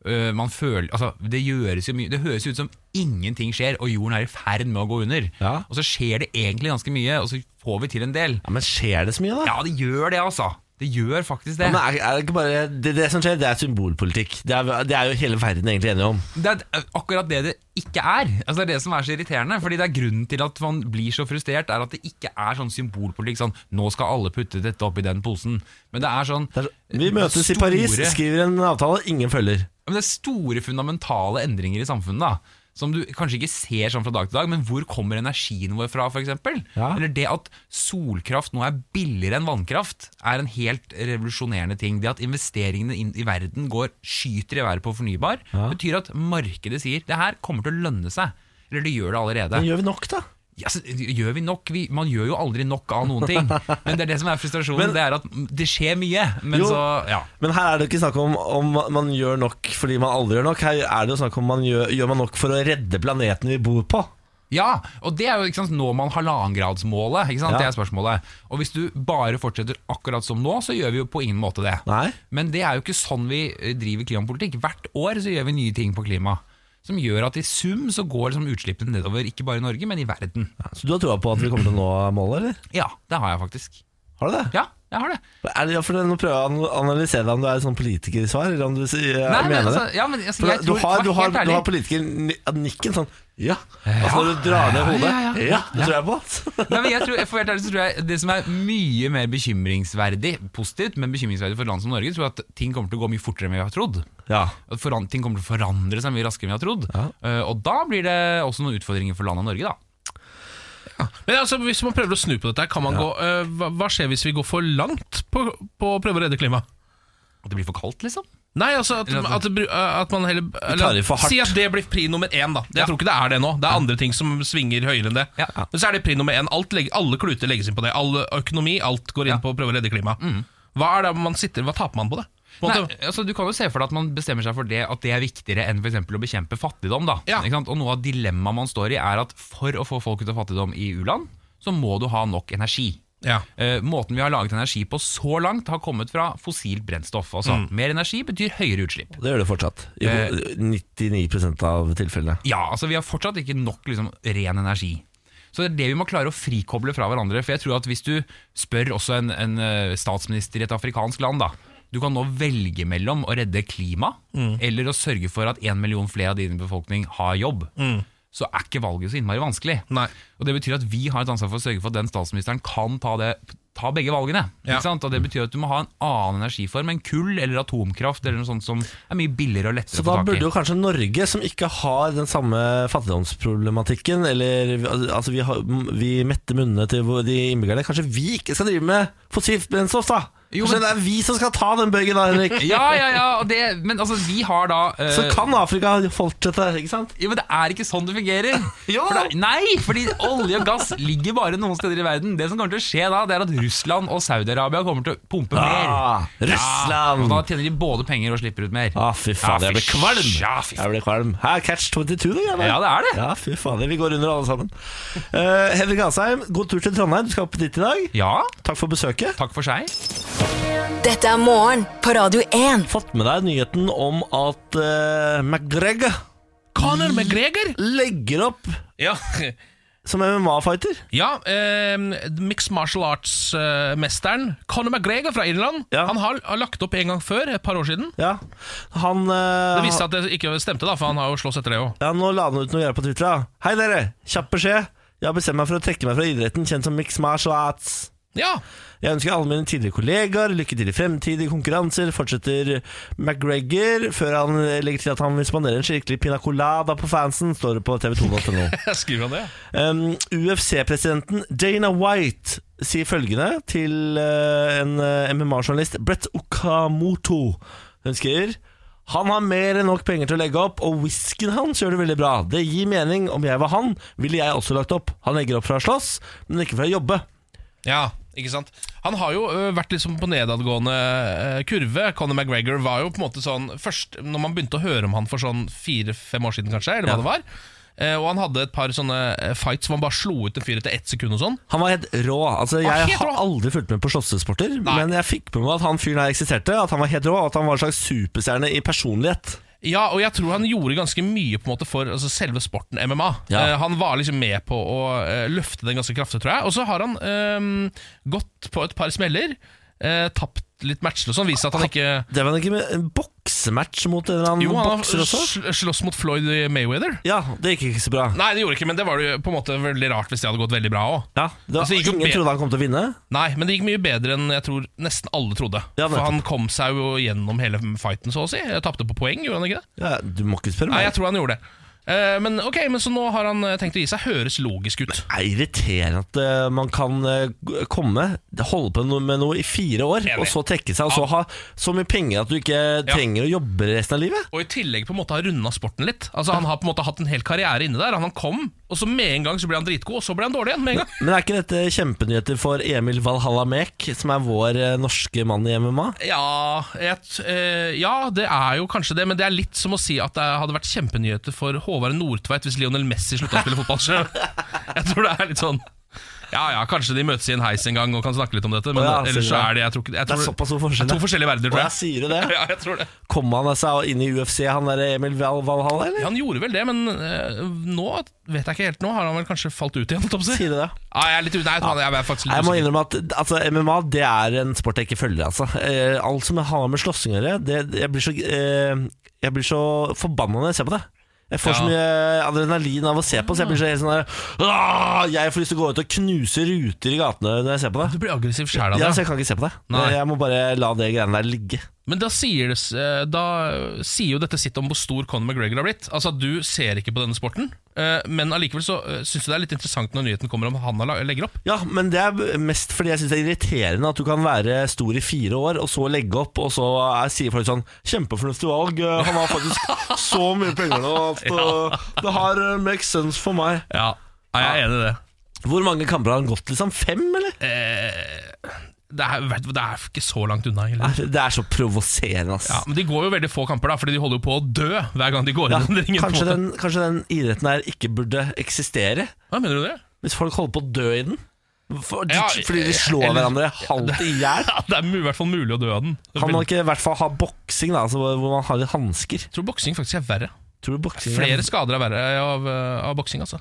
S6: øh, man føler, altså, det, gjøres jo mye, det høres jo ut som ingenting skjer, og jorden er i ferd med å gå under.
S1: Ja.
S6: Og så skjer det egentlig ganske mye, og så får vi til en del.
S1: Ja, Men skjer det så mye, da?
S6: Ja, det gjør det, altså. Det gjør faktisk det.
S1: Men er, er det, ikke bare, det, det som skjer, det er symbolpolitikk. Det er, det er jo hele verden egentlig enige om.
S6: Det er eh, akkurat det det ikke er. Altså, det er det som er så irriterende. Fordi det er grunnen til at man blir så frustrert, er at det ikke er sånn symbolpolitikk. Sånn 'nå skal alle putte dette oppi den posen'. Men det er sånn
S1: Det er, så- vi møtes i Paris,
S6: store-
S1: skriver en avtale, ingen følger.
S6: men det er store fundamentale endringer i samfunnet da som du kanskje ikke ser sånn fra dag til dag, men hvor kommer energien vår fra f.eks.?
S1: Ja.
S6: Eller det at solkraft nå er billigere enn vannkraft, er en helt revolusjonerende ting. Det at investeringene inn i verden går skyter i været på fornybar, betyr at markedet sier det her kommer til å lønne seg. Eller det gjør det allerede.
S1: Men gjør vi nok, da?
S6: Ja, så gjør vi nok? Vi, man gjør jo aldri nok av noen ting. Men det er det som er frustrasjonen.
S1: Men-
S6: det er at det skjer mye, men
S1: Jo.
S6: så ja.
S1: Men her er det ikke snakk om om man gjør nok fordi man aldri gjør nok. Her er det jo snakk om man gjør, gjør man nok for å redde planeten vi bor på.
S6: Ja, og det er jo ikke sant, når man halvannengradsmålet. Ikke sant?
S1: Ja.
S6: Det er spørsmålet. Og hvis du bare fortsetter akkurat som nå, så gjør vi jo på ingen måte det.
S1: Nei.
S6: Men det er jo ikke sånn vi eh, driver klimapolitikk. Hvert år så gjør vi nye ting på klima. Som gjør at i sum så går liksom utslippene nedover, ikke bare i Norge, men i verden.
S1: Så du har troa på at vi kommer til å nå målet, eller?
S6: Ja, det har jeg faktisk.
S1: Har du det?
S6: Ja, jeg har det.
S1: Er det ja, for det- Nå prøver jeg å analysere deg om du er et sånn politikersvar, eller om du sier-
S6: Nei, men
S1: mener
S6: altså,
S1: det.
S6: ja, men, altså,
S1: For
S6: jeg
S1: du
S6: tror,
S1: har,
S6: for
S1: du
S6: å være
S1: har,
S6: helt
S1: du har
S6: ærlig-
S1: politikernikken sånn Ja. Altså når du drar ned hodet.
S6: Ja, ja, ja.
S1: det tror jeg på. altså. ass.
S6: Nei, men jeg tror, for å være helt ærlig, så tror jeg Det som er mye mer bekymringsverdig, positivt, men bekymringsverdig for et land som Norge, tror jeg at ting kommer til å gå mye fortere enn vi har trodd.
S1: Ja.
S6: At foran, ting kommer til å forandre seg mye raskere enn vi har trodd. Eh, og da blir det også noen utfordringer for landet Norge, da.
S2: Men altså, Hvis man prøver å snu på dette, her, kan man gå, eh, hva, hva skjer hvis vi går for langt på, på å prøve å redde klimaet?
S6: At det blir for kaldt, liksom.
S2: Nei, altså at,
S6: Eller at-
S2: at, det bru- at man heller eh,
S1: tar i for hardt.
S2: Si at det blir pri nummer én, da. Jeg
S6: Ja.
S2: tror ikke det er det nå. Det er andre ting som svinger høyere enn det.
S6: Ja.
S2: Men så er det pri nummer én. Alt legg- alle kluter legges inn på det. All økonomi, alt går inn på å prøve å redde klimaet. Hva er det man sitter Hva taper man på det? På en
S6: Nei,
S2: måte-
S6: altså, du kan jo se for deg at man bestemmer seg for det at det er viktigere enn for eksempel å bekjempe fattigdom. da
S2: Ja.
S6: ikke sant? Og Noe av dilemmaet man står i, er at for å få folk ut av fattigdom i u-land, så må du ha nok energi.
S2: Ja.
S6: Eh, måten vi har laget energi på så langt, har kommet fra fossilt brennstoff. Altså,
S2: Mm.
S6: Mer energi betyr høyere utslipp.
S1: Det gjør det fortsatt. I
S6: Eh.
S1: 99 av tilfellene.
S6: Ja, altså vi har fortsatt ikke nok liksom, ren energi. Så det er det vi må klare å frikoble fra hverandre. For jeg tror at hvis du spør også en, en eh, statsminister i et afrikansk land, da du kan nå velge mellom å redde klima
S1: Mm.
S6: eller å sørge for at én million flere av din befolkning har jobb.
S1: Mm.
S6: Så er ikke valget så innmari vanskelig.
S2: Nei.
S6: Og Det betyr at vi har et ansvar for å sørge for at den statsministeren kan ta det ta begge valgene.
S2: Ja.
S6: Ikke sant? Og Det betyr at du må ha en annen energiform enn kull eller atomkraft eller noe sånt som er mye billigere og lettere
S1: Så da
S6: å få
S1: burde jo
S6: tak i.
S1: kanskje Norge, som ikke har den samme fattigdomsproblematikken Eller altså, vi, har, vi metter munnene til hvor- de innbyggerne Kanskje vi ikke skal drive med fossilt brennstoff, da?
S6: Jo,
S1: Kanskje
S6: men-
S1: det er vi som skal ta den bøygen, da, Henrik?
S6: Ja, ja, ja, og det, men altså, vi har da eh,
S1: Så kan Afrika fortsette, ikke sant?
S6: Jo, men det er ikke sånn det fungerer.
S1: Jo.
S6: For det, nei, fordi olje og gass ligger bare noen steder i verden. Det som kommer til å skje da, det er at Russland og Saudi-Arabia kommer til å pumpe mer.
S1: Ah, Russland!
S6: Og da tjener de både penger og slipper ut mer.
S1: Ah, fy faen,
S6: Ja,
S1: jeg ble
S6: fy
S1: kvalm!
S6: sja, fy
S1: Jeg ble kvalm. Her, catch 22, det greiene.
S6: Ja, det er det.
S1: Ja, fy faen, vi går under alle sammen. Eh, Henrik Asheim, god tur til Trondheim. Du skal opp dit i dag.
S6: Ja,
S1: Takk for besøket.
S6: takk for seg.
S4: Dette er morgen på Radio 1.
S1: Fått med deg nyheten om at eh, McGregor
S2: Conor McGregor!
S1: legger opp
S2: Ja,
S1: som MMA-fighter.
S2: ja eh, Mixed martial arts-mesteren Conor McGregor fra Irland.
S1: Ja.
S2: Han har, har lagt opp en gang før, et par år siden.
S1: Ja, han eh,
S2: Det viste seg at det ikke stemte, da, for han har jo slåss etter det òg.
S1: ja, Nå la han ut noe greier på Twitter. da. Hei, dere! Kjapp beskjed. Jeg har bestemt meg for å trekke meg fra idretten, kjent som mixed martial arts.
S2: Ja.
S1: Jeg ønsker alle mine tidligere kollegaer lykke til i fremtidige konkurranser, fortsetter McGregor, før han legger til at han vil spandere en skikkelig pina colada på fansen, står det på tv2.no.
S2: Skriver han det?
S1: Um, UFC-presidenten Dana White sier følgende til eh, en eh, MMA-journalist, Brett Okamoto. Hun skriver han har mer enn nok penger til å legge opp, og whiskyen hans gjør det veldig bra. Det gir mening. Om jeg var han, ville jeg også lagt opp. Han legger opp fra å slåss, men ikke fra å jobbe.
S2: Ja, ikke sant Han har jo ø, vært liksom på nedadgående ø, kurve Conor McGregor var jo på en måte sånn Først når man begynte å høre om han for sånn fire-fem år siden kanskje Eller hva
S1: Ja.
S2: det var Eh, Og han hadde et par sånne eh, fights Hvor han bare slo ut en fyr etter ett sekund og sånn
S1: Han var helt rå. Altså,
S2: var
S1: jeg
S2: helt
S1: har
S2: rå.
S1: aldri fulgt med på slåssesporter, men jeg fikk med meg at han fyren her eksisterte, at han var helt rå, og at han var en slags superstjerne i personlighet.
S2: Ja, og jeg tror han gjorde ganske mye på en måte for altså, selve sporten MMA.
S1: Ja.
S2: Eh, han var liksom med på å eh, løfte den ganske kraftig, tror jeg. Og så har han eh, gått på et par smeller, eh, tapt litt matcher og sånn, vist at han ikke
S1: Det var ikke med en boksematch mot en eller annen
S2: Jo, han har
S1: bokser også?
S2: sl- slåss mot Floyd Mayweather.
S1: Ja, det gikk ikke så bra.
S2: Nei, det gjorde ikke, men det var det jo på en måte veldig rart hvis det hadde gått veldig bra òg.
S1: Ja, det var,
S2: Altså, det gikk jo
S1: ingen
S2: be-
S1: trodde han kom til å vinne.
S2: Nei, men det gikk mye bedre enn jeg tror nesten alle trodde.
S1: Ja,
S2: For
S1: nettopp.
S2: han kom seg jo gjennom hele fighten, så å si. Jeg Tapte på poeng, gjorde han ikke det?
S1: Ja, du må ikke spørre
S2: Nei,
S1: meg.
S2: jeg tror han gjorde det. Eh, men ok, men så nå har han eh, tenkt å gi seg. Høres logisk ut.
S1: Det er irriterende at eh, man kan eh, g- komme, holde på noe- med noe i fire år,
S2: Enig.
S1: og så trekke seg, og så ha så mye penger at du ikke trenger å jobbe resten av livet.
S2: Og i tillegg på en måte har runda sporten litt. Altså Han har på en måte hatt en hel karriere inni der. Han han kom, og så med en gang så ble han dritgod, og så ble han dårlig igjen med en gang.
S1: Men er ikke dette kjempenyheter for Emil Valhalla Mek, som er vår eh, norske mann i MMA?
S2: Ja, jeg t- eh, ja, det er jo kanskje det, men det er litt som å si at det hadde vært kjempenyheter for Håvard Nordtveit hvis Lionel Messi slutta å spille fotball. Så Jeg tror det er litt sånn Ja ja, kanskje de møtes i en heis en gang og kan snakke litt om dette, men
S1: Å ja,
S2: ellers
S1: sier du
S2: så
S1: det?
S2: er det jeg tror, ikke- jeg
S1: Det
S2: tror,
S1: er såpass stor forskjell,
S2: det er
S1: ja.
S2: to forskjellige verdener, tror
S1: Å,
S2: jeg.
S1: jeg sier jo det.
S2: Ja, jeg tror det.
S1: Kom han altså inn i UFC, han der Emil Val Valhalla, eller?
S2: Ja, han gjorde vel det, men eh, nå vet jeg ikke helt. Nå har han vel kanskje falt ut igjen? holdt jeg på å si.
S1: Sier du det?
S2: Ja, jeg er litt ute. Nei, jeg tror han- jeg er faktisk litt
S1: Jeg må
S2: usikker.
S1: innrømme at altså, MMA det er en sport jeg ikke følger. Altså. Eh, alt som har med slåssing å gjøre, det- jeg blir så, eh, jeg blir så forbanna når jeg ser på det. Jeg får så
S2: Ja.
S1: mye adrenalin av å se på, så jeg blir så helt sånn der, «Åh, Jeg får lyst til å gå ut og knuse ruter i gatene når jeg ser på det.
S2: Du blir aggressiv sjæl av
S1: Ja,
S2: det.
S1: så jeg kan ikke se på det.
S2: Nei.
S1: Jeg må bare la det greiene der ligge.
S2: Men da sier, det, s- eh, da sier jo dette sitt om hvor stor Conor McGregor har blitt. Altså at Du ser ikke på denne sporten, eh, men allikevel så syns du det er litt interessant når nyheten kommer om han har la- legger opp.
S1: Ja, men det er mest fordi jeg syns det er irriterende at du kan være stor i fire år, og så legge opp, og så er- sier folk sånn 'Kjempefornuftig valg. eh, Han har faktisk så mye penger nå at eh, det her eh, makes sense for meg'.
S2: Ja, jeg er enig i det.
S1: Hvor mange kamper har han gått? liksom? Fem, eller?
S2: Eh, Det er, vet du, det er ikke så langt unna. Egentlig.
S1: Nei, Det er så provoserende, ass.
S2: Ja, men De går jo veldig få kamper, da fordi de holder jo på å dø hver gang de går
S1: Ja,
S2: inn i den ringen. på en
S1: kanskje,
S2: måte.
S1: den, kanskje den idretten her ikke burde eksistere?
S2: Hva mener du det?
S1: Hvis folk holder på å dø i den? For,
S2: Ja, eh,
S1: fordi de slår
S2: eller-
S1: hverandre halvt i hjel?
S2: Ja, det er mu- i hvert fall mulig å dø av den.
S1: Kan man ikke i hvert fall ha boksing, da, altså, hvor hvor man har litt hansker?
S2: Jeg tror boksing faktisk er verre.
S1: Tror du boksing
S2: Flere skader er verre av, eh, av boksing. altså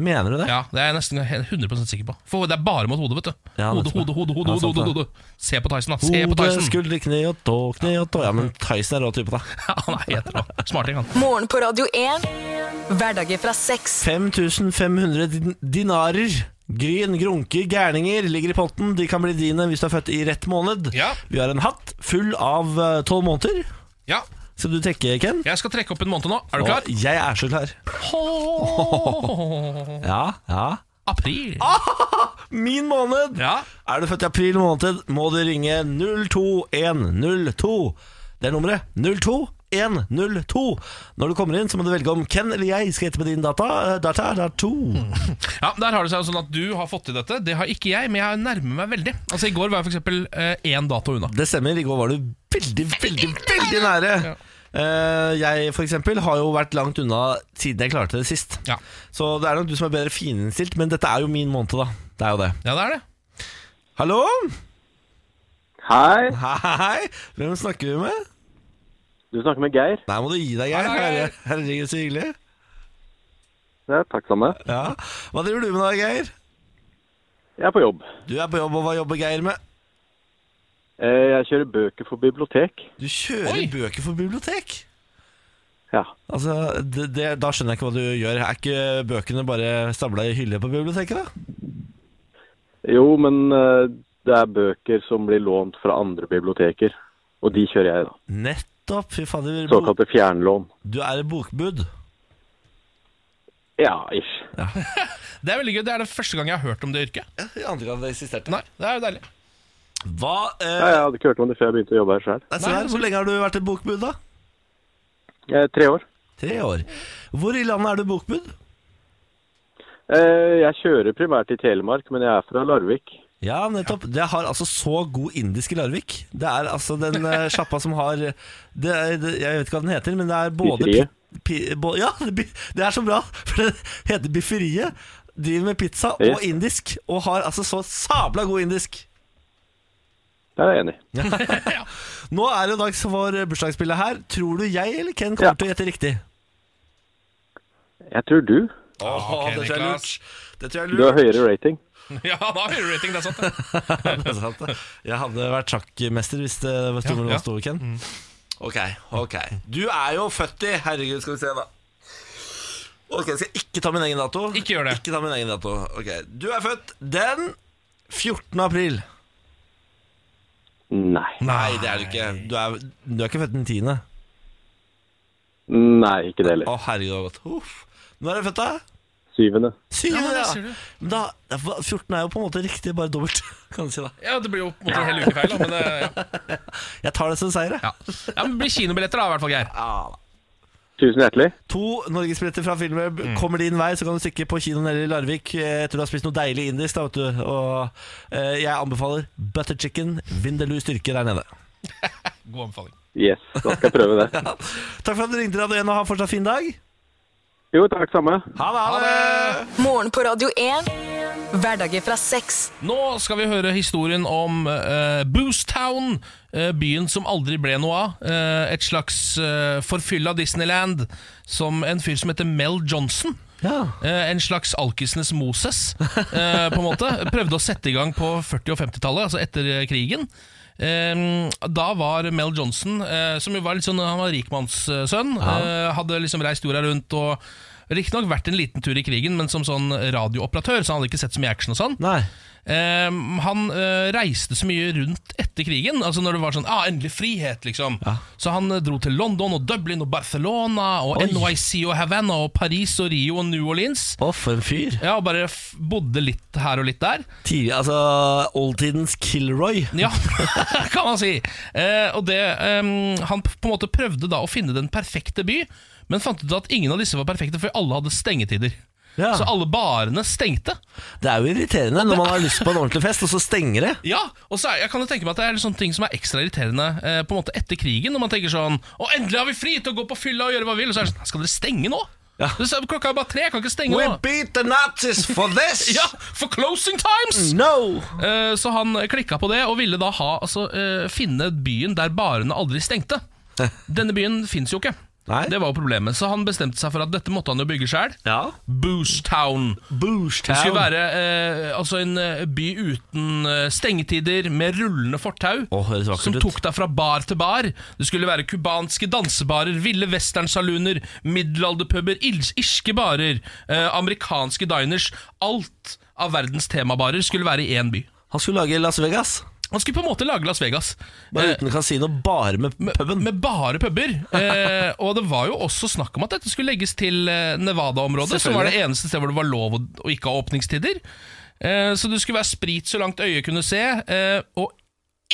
S1: Mener du det?
S2: Ja, Det er jeg nesten 100 sikker på. For det er bare mot hodet, vet du.
S1: Ja,
S2: hode,
S1: nettopp.
S2: hode, hode, hode,
S1: Ja,
S2: hode,
S1: sant
S2: hode,
S1: det.
S2: hode. Se på Tyson, da. Se på
S1: Hode,
S2: Tyson.
S1: skulder, kne og tå, kne og tå. Ja, men Tyson er rå type, da.
S2: Ja, han er helt rå. Smarting, han.
S4: Morgen på Radio 1. Hverdager fra seks.
S1: 5500 din- dinarer Gryn, grunker, gærninger ligger i potten. De kan bli dine hvis du er født i rett måned.
S2: Ja.
S1: Vi har en hatt full av eh, tolv måneder.
S2: Ja,
S1: Skal du trekke, Ken?
S2: jeg skal trekke opp en måned nå. Er du klar?
S1: Og jeg er så klar.
S2: Åh,
S1: Ja, ja.
S2: April.
S1: Ah. Min måned!
S2: Ja.
S1: Er du født i april måned, må du ringe 02102. Det er nummeret. 02102. Når du kommer inn, så må du velge om Ken eller jeg skal hete med din data. Eh, Data er da to.
S2: Ja, Der har det seg sånn at du har fått til dette. Det har ikke jeg, men jeg nærmer meg veldig. Altså I går var jeg f.eks. én dato unna.
S1: Det stemmer. I går var du veldig, veldig, veldig nære. Eh, jeg for eksempel har jo vært langt unna siden jeg klarte det sist.
S2: Ja.
S1: Så det er nok du som er bedre fininnstilt, men dette er jo min måned, da. Det er jo det.
S2: ja, det er det.
S1: Hallo?
S7: Hei,
S1: Hei, hvem snakker vi med?
S7: du snakker med Geir.
S1: Nei, må du gi deg, Geir.
S2: Hei, hei, hei.
S1: Herre- Herregud, så hyggelig.
S7: Ja, takk samme.
S1: Ja. Hva driver du med da, Geir?
S7: Jeg er på jobb.
S1: Du er på jobb, og hva jobber Geir med?
S7: Eh, Jeg kjører bøker for bibliotek.
S1: Du kjører
S2: Oi.
S1: bøker for bibliotek.
S7: Ja.
S1: Altså, det, det, Da skjønner jeg ikke hva du gjør. Er ikke bøkene bare stabla i hylle på biblioteket, da?
S7: Jo, men eh, det er bøker som blir lånt fra andre biblioteker. Og de kjører jeg, da.
S1: Nettopp. Fy fader. bo-
S7: Såkalte fjernlån.
S1: Du er et bokbud.
S7: Ja, ish.
S2: Det er veldig gøy, det er det første gang jeg har hørt om det yrket.
S1: I andre gang det eksisterte.
S2: Nei, Det er jo deilig.
S1: Hva eh,
S7: Ja, jeg hadde ikke hørt om det før jeg begynte å jobbe her sjøl.
S1: nei, se der, Hvor lenge har du vært et bokbud, da?
S7: Tre år.
S1: Tre år. Hvor i landet er du bokbud?
S7: Eh, Jeg kjører primært i Telemark, men jeg er fra Larvik.
S1: Ja, nettopp. Det har altså så god indisk i Larvik. Det er altså den eh, sjappa som har det er, det, Jeg vet ikke hva den heter, men det er både
S7: Bifferiet.
S1: pi- pi- bo- Ja, det bi- det er så bra, for det heter Bifferiet. Driver med pizza og
S7: Yes.
S1: indisk, og har altså så sabla god indisk.
S7: Det er jeg enig i.
S1: Nå er det dags for bursdagsspillet her. Tror du jeg eller Ken
S7: Ja.
S1: kommer til å gjette riktig?
S7: Jeg tror du.
S1: Åh,
S2: ok,
S1: det tror jeg er lurt.
S2: Niklas.
S1: Det tror jeg er
S7: Du
S1: lurt.
S7: har høyere rating.
S2: Ja, da har vi rating, det er sant. det.
S1: Det er sant, det. Jeg hadde vært sjakkmester hvis det var
S2: Ja,
S1: stor mellom
S2: ja. Mm.
S1: oss to, Ken. Ok, ok. Du er jo 40. Herregud, skal vi se, da. Ok, Skal jeg ikke ta min egen dato?
S2: Ikke gjør det.
S1: Ikke ta min egen dato. Ok, Du er født den 14. april.
S7: Nei.
S1: Nei, det er du ikke. Du er, du er ikke født den 10. Å,
S7: Nei, ikke det heller.
S1: herregud, det var godt. Uff. Når er du født, da?
S7: Syvende.
S1: Syvende,
S2: men det
S1: ja.
S2: sier du.
S1: Men da, da- 14 er jo på en måte riktig, bare dobbelt. Kan du si da
S2: Ja, Det blir jo på en måte en hel uke feil, da, men det, ja.
S1: Jeg tar det som seier, jeg.
S2: Ja. ja, men det blir kinobilletter, da, i hvert fall, Geir.
S1: Ja, da.
S7: Tusen hjertelig.
S1: To norgesbilletter fra Filmweb
S2: Mm.
S1: kommer din vei, så kan du stikke på kinoen eller i Larvik eh, etter du har spist noe deilig indisk. Da, vet du. Og eh, jeg anbefaler butter chicken. Vinn det lue styrke der nede.
S2: God anbefaling.
S7: Yes, da skal jeg prøve det.
S1: Takk for at du ringte, Radio 1, og ha en fortsatt fin dag.
S7: Jo, takk samme.
S1: Ha det! Ha det.
S4: Morgen på Radio 1. Hverdager fra seks.
S2: Nå skal vi høre historien om eh, Boostown, eh, byen som aldri ble noe av. Eh, et slags uh, forfylla Disneyland som en fyr som heter Mel Johnson.
S1: Ja.
S2: Eh, en slags alkisenes Moses, eh, på en måte. Prøvde å sette i gang på 40- og 50-tallet, altså etter eh, krigen. Eh, da var Mel Johnson, eh, som jo var litt sånn, han var rikmannssønn, eh, hadde liksom reist jorda rundt og Riktignok vært en liten tur i krigen, men som sånn radiooperatør, så han hadde ikke sett så mye action og sånn.
S1: Nei.
S2: Eh, han eh, reiste så mye rundt etter krigen, altså når det var sånn ah, 'endelig frihet', liksom. Så han eh, dro til London og Dublin og Barcelona og
S1: Oi.
S2: NYC og Havanna og Paris og Rio og New Orleans.
S1: Å, for en fyr.
S2: Ja, og bare f bodde litt her og litt der.
S1: Tidlig, altså oldtidens Kilroy.
S2: Ja, kan man si. Eh, og det, eh, han p- på en måte prøvde da å finne den perfekte by, men fant ut at ingen av disse var perfekte, for alle hadde stengetider.
S1: Ja.
S2: Så alle barene stengte.
S1: Det er jo irriterende når man har lyst på en ordentlig fest, og så stenger det.
S2: Ja, og så er, jeg kan jo tenke meg at det er sånne ting som er ekstra irriterende eh, på en måte etter krigen. Når man tenker sånn Å, endelig har vi fri til å gå på fylla og gjøre hva vi vil. Og så er det sånn Skal dere stenge nå?
S1: Ja.
S2: Det er- Klokka er bare tre, jeg kan ikke stenge
S1: We
S2: nå.
S1: beat the Nazis for this!
S2: Ja, for closing times!
S1: Mm. No!
S2: Eh, Så han klikka på det, og ville da ha, altså, eh, finne byen der barene aldri stengte. Denne byen fins jo ikke.
S1: Nei.
S2: Det var jo problemet. Så han bestemte seg for at dette måtte han jo bygge sjøl.
S1: Ja.
S2: Boostown. Det
S1: Boostown.
S2: skulle være eh, altså en eh, by uten eh, stengetider, med rullende fortau.
S1: Å, høres
S2: som
S1: vakkert ut.
S2: tok deg fra bar til bar. Det skulle være cubanske dansebarer, ville westernsaluner, middelalderpuber, ils- irske barer, eh, amerikanske diners. Alt av verdens temabarer skulle være i én by.
S1: Han skulle lage Las Vegas.
S2: Han skulle på en måte lage Las Vegas.
S1: Bare
S2: Eh,
S1: uten kasino, bare med puben.
S2: med bare puber. Eh, og det var jo også snakk om at dette skulle legges til eh, Nevada-området, som var det eneste stedet hvor det var lov å, å ikke ha åpningstider. Eh, så det skulle være sprit så langt øyet kunne se, eh, og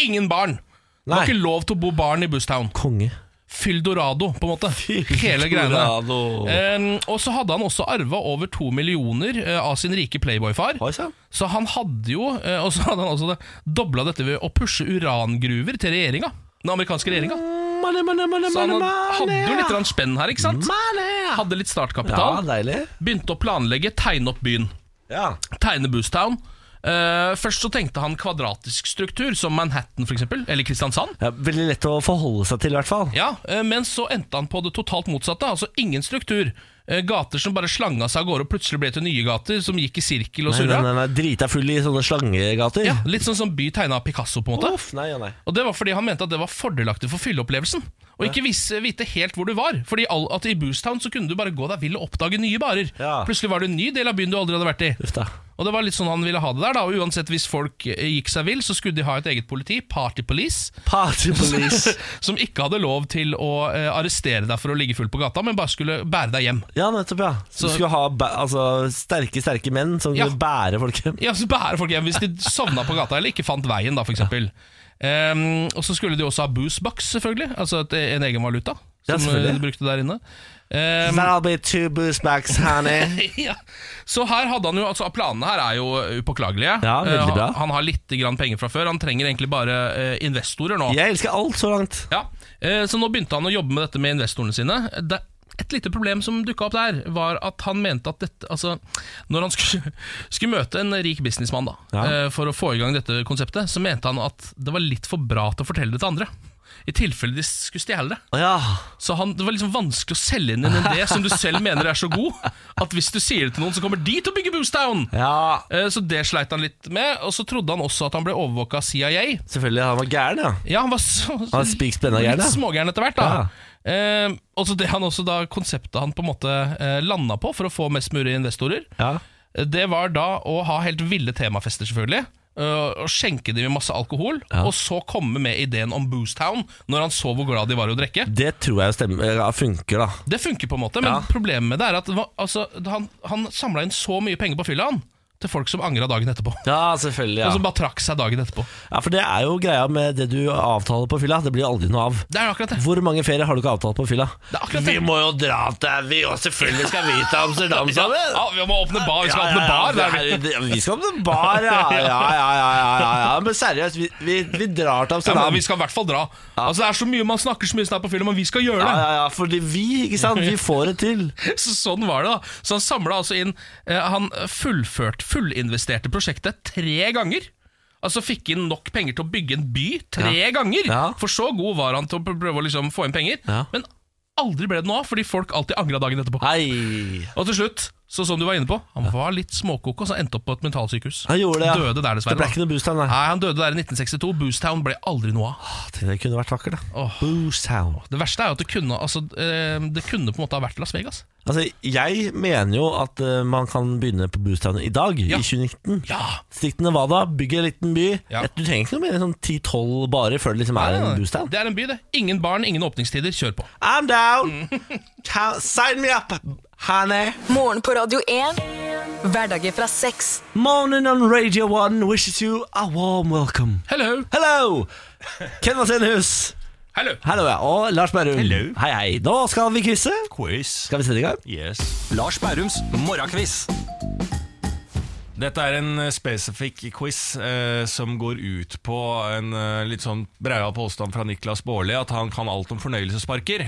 S2: ingen barn. Det var
S1: Nei.
S2: ikke lov til å bo barn i Bustown.
S1: Konge.
S2: Fyldorado, på en måte. Hele greiene.
S1: Colorado.
S2: Eh, og så hadde han også arva over to millioner eh, av sin rike playboyfar.
S1: Oi sann.
S2: Så han hadde jo, eh, og så hadde han også dobla dette ved å pushe urangruver til regjeringa. Den amerikanske regjeringa.
S1: Money, money, money,
S2: Så han
S1: money,
S2: had- hadde
S1: money,
S2: jo
S1: ja.
S2: litt grann spenn her, ikke sant?
S1: Money.
S2: Hadde litt
S1: Ja,
S2: startkapital.
S1: deilig.
S2: Begynte å planlegge, tegne opp byen.
S1: Ja.
S2: Tegne Boostown. Eh, først så tenkte han kvadratisk struktur, som Manhattan for eksempel, eller Kristiansand.
S1: ja. Veldig lett å forholde seg til, i hvert fall.
S2: Ja, eh, Men så endte han på det totalt motsatte, altså ingen struktur. Eh, gater som bare slanga seg av gårde og plutselig ble til nye gater som gikk i sirkel og
S1: Nei, nei,
S2: surra.
S1: nei, nei, Drita full i sånne slangegater.
S2: Ja, litt sånn som by tegna av Picasso, på en måte.
S1: Uff, nei, ja, nei.
S2: Og det var fordi han mente at det var fordelaktig for fylleopplevelsen. Og ikke visse, vite helt hvor du var. Fordi all, at I Boostown så kunne du bare gå deg vill og oppdage nye barer.
S1: Ja.
S2: Plutselig var det en ny del av byen du aldri hadde vært i.
S1: Uff da.
S2: Og det var litt sånn han ville ha det der. da Og Uansett, hvis folk eh, gikk seg vill, så skulle de ha et eget politi, Party Police,
S1: Party police.
S2: som ikke hadde lov til å eh, arrestere deg for å ligge full på gata, men bare skulle bære deg hjem.
S1: Ja, nettopp, ja. Så
S2: Så-
S1: du skulle ha ba- altså, sterke, sterke menn som
S2: Ja.
S1: kunne bære folk hjem.
S2: Ja, så bære folk hjem hvis de sovna på gata eller ikke fant veien, da, for eksempel. Ehm, og så skulle de også ha boosebox, selvfølgelig. Altså et, en egen valuta.
S1: Ja,
S2: Som eh,
S1: selvfølgelig.
S2: de brukte der inne. Ehm,
S1: That'll be two boost bags, honey.
S2: ja. Så her hadde han jo altså, Planene her er jo upåklagelige.
S1: Ja, veldig
S2: Eh,
S1: bra.
S2: han, han har litt grann penger fra før. Han trenger egentlig bare eh, investorer nå.
S1: Jeg elsker alt så langt.
S2: Ja. Eh, så nå begynte han å jobbe med dette med investorene sine. Det, et lite problem som dukka opp der, var at han mente at dette Altså, når han skulle, skulle møte en rik businessmann da,
S1: Ja.
S2: eh, for å få i gang dette konseptet, så mente han at det var litt for bra til å fortelle det til andre. I tilfelle de skulle stjele det.
S1: Å Ja.
S2: Så han, Det var liksom vanskelig å selge inn en idé som du selv mener er så god, at hvis du sier det til noen, så kommer de til å bygge Boostown!
S1: ja,
S2: Eh, Så det sleit han litt med, og så trodde han også at han ble overvåka av CIA.
S1: selvfølgelig. Han var gæren, ja.
S2: Ja, han var så,
S1: Han var spik spenna gæren,
S2: litt
S1: ja.
S2: smågæren etter hvert, da. Eh, og så det han også da konseptet han på en måte eh, landa på for å få mest mulig investorer,
S1: ja.
S2: eh, det var da å ha helt ville temafester, selvfølgelig. eh, Og skjenke dem med masse alkohol, og så komme med ideen om Boostown når han så hvor glad de var i å drikke.
S1: Det tror jeg stemmer, ja, funker, da.
S2: Det funker på en måte, men
S1: Ja.
S2: problemet med det er at det var- altså, han, han samla inn så mye penger på fylla han, til folk som angra dagen etterpå.
S1: Ja, selvfølgelig.
S2: Og
S1: Ja.
S2: som bare trakk seg dagen etterpå.
S1: ja, For det er jo greia med det du avtaler på fylla. Det blir aldri noe av.
S2: Det er akkurat det.
S1: Hvor mange ferier har du ikke avtalt på fylla?
S2: Det er akkurat det.
S1: må jo dra til vi, og selvfølgelig skal vi til Amsterdam
S2: Ja, Ah, vi må åpne bar, vi skal
S1: Ja, ja,
S2: åpne
S1: ja,
S2: bar! det er vi.
S1: det er- Vi skal åpne bar, ja. Ja, ja, ja, ja, ja, ja. Men seriøst, vi, vi, vi drar til
S2: Ja,
S1: Amsterdam.
S2: men vi skal i hvert fall dra. Altså Det er så mye man snakker så mye snart på film, men vi skal gjøre
S1: Ja,
S2: det.
S1: ja, ja, fordi vi, ikke sant, vi får det til.
S2: Så sånn var det da Så han samla altså inn eh, Han fullført, fullinvesterte prosjektet tre ganger. Altså Fikk inn nok penger til å bygge en by tre ganger.
S1: Ja.
S2: For så god var han til å pr- prøve å liksom få inn penger.
S1: Ja.
S2: Men aldri ble det noe av, fordi folk alltid angra dagen etterpå.
S1: Hei.
S2: Og til slutt, så som du var inne på, han var litt småkoko, så endte opp på et mentalsykehus.
S1: Han gjorde det, ja.
S2: Døde der,
S1: Det
S2: dessverre.
S1: ble
S2: da.
S1: ikke noe boost nei.
S2: Nei, Han døde der i 1962. Boostown ble aldri noe av.
S1: Det kunne vært vakkert, da.
S2: Ah. Åh.
S1: Boost town.
S2: Det verste er jo at det kunne, altså, eh, det kunne på en måte ha vært Las Vegas.
S1: Altså, jeg mener jo at eh, man kan begynne på boost town i dag,
S2: Ja.
S1: i 2019.
S2: Ja!
S1: Stikk til Nevada, bygg en liten by.
S2: Ja.
S1: Et- Du trenger ikke noe mer enn sånn 10-12 barer før det liksom er en boost town.
S2: Det er en by, det. Ingen barn, ingen åpningstider. Kjør på.
S1: I'm down!
S2: Mm.
S1: Ta- Sign me up, honey!
S4: Morgen på Radio 1. Hverdager fra seks.
S1: Morning on Radio 1 wishes you a warm welcome.
S2: Hello!
S1: Hello! Ken Vasenhus.
S2: Hello!
S1: Hallo, ja. Og Lars Berrum. Hei, hei. Nå skal vi quize. Skal vi sette i gang?
S8: Lars Bærums morgenkviss.
S9: Dette er en eh, spesifikk quiz eh, som går ut på en eh, litt sånn breia påstand fra Niklas Baarli at han kan alt om fornøyelsesparker.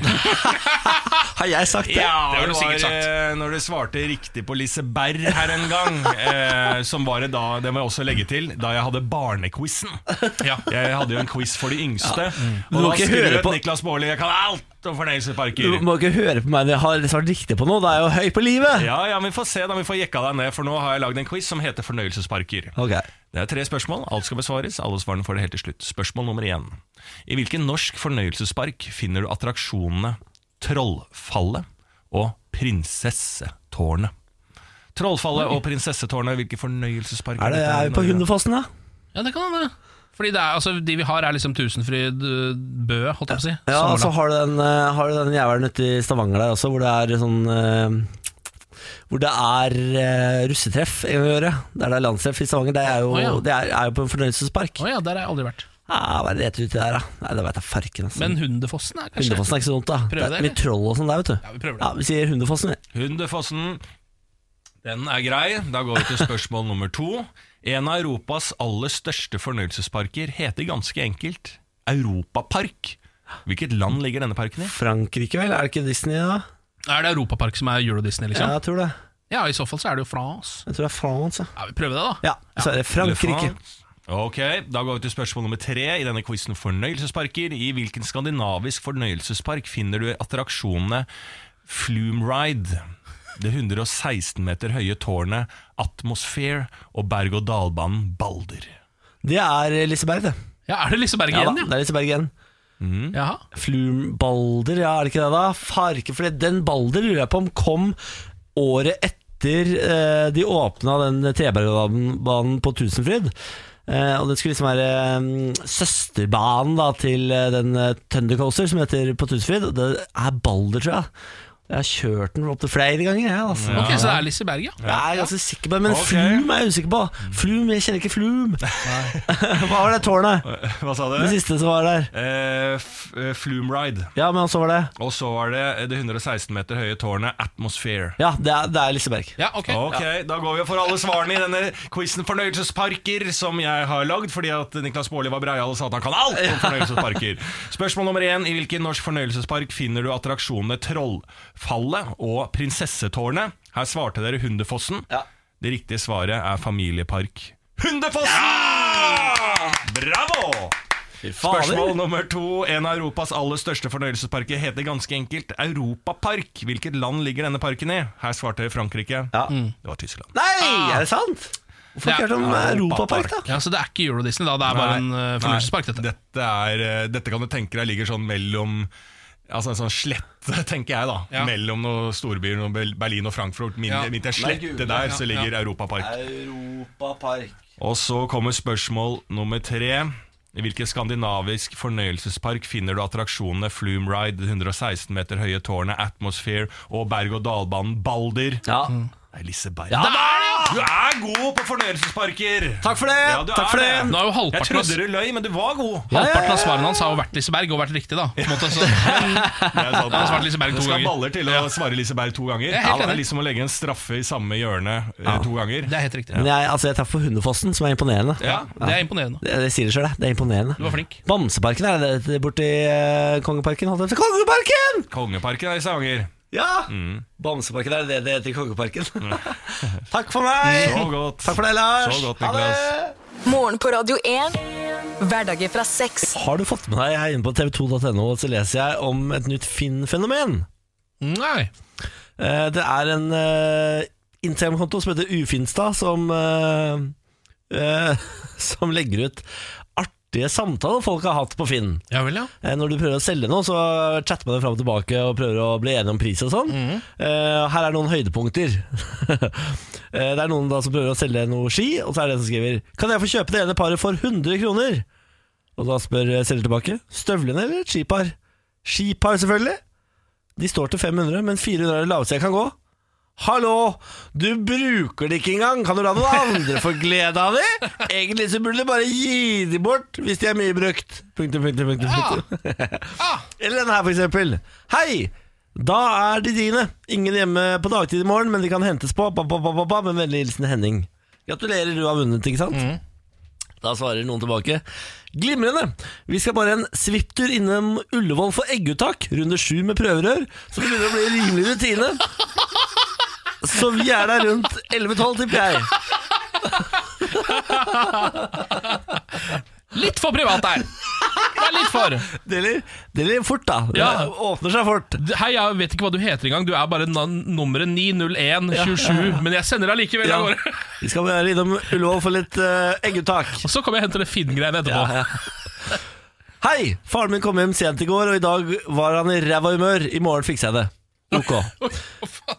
S1: Har jeg sagt det?
S9: Ja,
S2: Det har du
S9: det var
S2: sikkert sagt.
S9: eh, når du svarte riktig på Liseberg her en gang. eh, som var det da, det må jeg også legge til, da jeg hadde barnequizen.
S2: Ja.
S9: Jeg hadde jo en quiz for de yngste.
S1: Mm. Du må
S9: Og da
S1: ikke høre
S9: skrøt
S1: på-
S9: Niklas Baarli Jeg kan alt om
S1: Du
S9: fornøyelsesparker.
S1: må ikke høre på meg når jeg har svart riktig på noe. Da er jeg jo høy på livet!
S9: Ja, ja, men Vi får se, da vi får jekka deg ned, for nå har jeg lagd en quiz som heter Fornøyelsesparker.
S1: Ok
S9: Det er tre spørsmål, alt skal besvares, alle svarene får det helt til slutt. Spørsmål nummer én. I hvilken norsk fornøyelsespark finner du attraksjonene Trollfallet og Prinsessetårnet? Trollfallet og Prinsessetårnet, hvilken fornøyelsespark
S1: Er, det,
S9: dette
S1: er
S9: i
S1: vi på
S9: Norge?
S1: Hundefossen, da?
S2: ja, det kan hende. Fordi det er, altså, De vi har, er liksom Tusenfryd, eh, Bø, holdt jeg på å si.
S1: Ja, og så
S2: Sommerland.
S1: har du den, eh, har du den jævelen ute i Stavanger der også, hvor det er sånn eh, Hvor det er eh, russetreff en gang i året. Der det er landstreff i Stavanger. Det er jo,
S2: Å, ja.
S1: det er, er jo på en fornøyelsespark.
S2: Å ja, der har jeg aldri vært.
S1: Ah, hva er det det heter uti der, da? Nei, Det veit jeg farken. Altså.
S2: Men Hundefossen er kanskje
S1: Hundefossen er ikke så vondt, da.
S2: Prøv
S1: det
S2: det,
S1: er mye troll og sånn der, vet du.
S2: Ja, vi prøver det.
S1: Ja, Vi sier Hundefossen, vi.
S9: Hundefossen, den er grei. Da går vi til spørsmål nummer to. En av Europas aller største fornøyelsesparker heter ganske enkelt Europapark. Hvilket land ligger denne parken i?
S1: Frankrike, vel? Er det ikke Disney, da?
S2: Er det Europapark som er Euro-Disney,
S1: Ja,
S2: liksom? Ja.
S1: jeg tror det.
S2: i så fall så er det jo France.
S1: Jeg tror det er France.
S2: Ja, Vi prøver det, da.
S1: Ja, ja så er det Frankrike.
S9: Ok, Da går vi til spørsmål nummer tre i denne quizen fornøyelsesparker. I hvilken skandinavisk fornøyelsespark finner du attraksjonene Flumeride, det 116 meter høye tårnet Atmosphere og berg-og-dal-banen Balder?
S1: Det er Liseberg, det.
S2: Ja, Er det Liseberg
S1: Ja, da,
S2: igjen,
S1: det
S2: ja?
S1: er Liseberg igjen.
S2: Jaha.
S1: Flumbalder, ja, er det ikke det da? Farke, for den Balder lurer jeg på om kom året etter eh, de åpna den Trebergbanen på Tusenfryd. Eh, og det skulle liksom være eh, søsterbanen da til eh, den eh, Thundercoaster som heter på Tusenfryd. Og det er Balder, tror jeg. Jeg har kjørt den opp til flere ganger, jeg. Altså.
S2: Ok, Så det er Liseberg, ja.
S1: Jeg er ganske sikker på det, men
S9: Ok.
S1: Flum er jeg usikker på. Flum, jeg kjenner ikke Flum. Hva var det tårnet?
S9: Eh, Hva sa
S1: Det
S9: du?
S1: siste som var der.
S9: Eh, f- eh, Flumeride.
S1: Ja, men så var det
S9: Og så var det det 116 meter høye tårnet Atmosphere.
S1: Ja, det er, det er Liseberg.
S2: Ja, ok,
S9: Ok, Da går vi for alle svarene i denne quizen fornøyelsesparker som jeg har lagd, fordi at Niklas Baarli var breial og sa at han kan alt om fornøyelsesparker. Spørsmål nummer én. I hvilken norsk fornøyelsespark finner du attraksjonene Trollfallet og Prinsessetårnet? Her svarte dere Hundefossen.
S1: Ja.
S9: Det riktige svaret er Familiepark Hundefossen! Bravo! Spørsmål nummer to. En av Europas aller største fornøyelsesparker heter ganske enkelt Europapark. Hvilket land ligger denne parken i? Her svarte Frankrike.
S1: Ja.
S2: Mm.
S9: Det var Tyskland.
S1: Nei,
S9: Ah!
S1: er det sant? Hvorfor
S2: Ja.
S1: ikke hørt om eh, Europapark, da?
S2: Ja, Så det er ikke Euro-Disney, da. Det er bare en uh, fornøyelsespark, dette.
S9: Dette, er, eh, dette kan du tenke deg ligger sånn mellom Altså en sånn slette, tenker jeg, da.
S2: Ja.
S9: Mellom noen storbyer, noen Bel- Berlin og Frankfurt. Min,
S2: Ja.
S9: Midt i en slette
S1: Nei, gud,
S9: der,
S2: ja,
S9: så ligger Europapark.
S1: Europapark.
S9: Og så kommer spørsmål nummer tre. I hvilken skandinavisk fornøyelsespark finner du attraksjonene Flumeride, det 116 meter høye tårnet Atmosphere og berg-og-dal-banen Balder?
S1: Ja.
S9: Det er Liseberg.
S1: Ja,
S9: Der er det, ja! Du er god på fornøyelsesparker!
S1: Takk for det!
S9: Ja, du
S1: Takk
S9: er
S1: for det.
S9: det.
S2: Nå er jo
S9: Jeg
S2: halvparten av,
S9: trodde du løy, men du var god.
S2: halvparten av svarene hans har jo vært Liseberg, og vært riktig, da. På en måte, så.
S9: Jeg sa det.
S2: har svart Liseberg to
S9: det skal
S2: ganger.
S9: baller til å svare Liseberg to ganger.
S2: er helt
S9: det er
S2: enig.
S9: liksom å legge en straffe i samme hjørne eh, to ganger.
S2: Det er helt riktig.
S1: Men jeg, altså, jeg traff på Hundefossen, som er imponerende.
S2: Ja, Det er imponerende.
S1: Det, det sier det sjøl, det. Det er imponerende.
S2: Du var flink.
S1: Bamseparken er det det borti eh, Kongeparken? Holdt jeg på å si. Kongeparken!
S9: Kongeparken er i Stavanger.
S1: Ja!
S9: Mm.
S1: Bamseparken er det det heter i Kongeparken. Takk for meg!
S9: Så godt.
S1: Takk for deg, Lars.
S9: Så godt,
S1: Ha det.
S9: Niklas.
S4: Morgen på Radio 1. Hverdager fra seks.
S1: Har du fått med deg jeg er inne på tv2.no, så leser jeg om et nytt Finn-fenomen.
S2: Nei.
S1: Eh, Det er en eh, Instagram-konto som heter Ufinstad, som, eh, eh, som legger ut artige samtaler folk har hatt på Finn.
S2: Ja vel, ja.
S1: Eh, Når du prøver å selge noe, så chatter man det fram og tilbake og prøver å bli enige om pris og sånn.
S2: Mhm.
S1: Eh, Her er noen høydepunkter. Eh, det er noen da som prøver å selge noe ski, og så er det en som skriver Kan jeg få kjøpe det ene paret for 100 kroner? Og da spør eh, selger tilbake Støvlene eller et skipar? Skipar selvfølgelig De står til 500, men 400 er det laveste jeg kan gå Hallo, du bruker det ikke engang Kan du la noen andre få glede av det? Egentlig så burde du bare gi de bort Hvis de er mye brukt Punktum, punktum, punktum, punktum. Eller denne her for eksempel Hei, da er de dine Ingen hjemme på dagtid i morgen Men de kan hentes på ba, ba, ba, ba, ba, Med vennlig hilsen Henning Gratulerer, du har vunnet, ikke sant? Da svarer noen tilbake. Glimrende! Vi skal bare en svipptur innom Ullevål for egguttak. Runde sju med prøverør. Så det begynner å bli rimelig rutine. Så vi er der rundt 11-12, tipper jeg.
S2: Litt for privat der! Det er litt for.
S1: Deler, deler fort, da. Det
S2: Ja.
S1: åpner seg fort.
S2: Hei, jeg vet ikke hva du heter engang. Du er bare nan- nummeret 90127. Men jeg sender deg likevel
S1: Ja.
S2: av gårde.
S1: Vi skal bare innom Ullevål for litt eh, egguttak.
S2: Og så kommer jeg og henter det Finn-greiene etterpå.
S1: Ja, Hei! Faren min kom hjem sent i går, og i dag var han i ræva humør. I morgen fikser jeg det. Ok.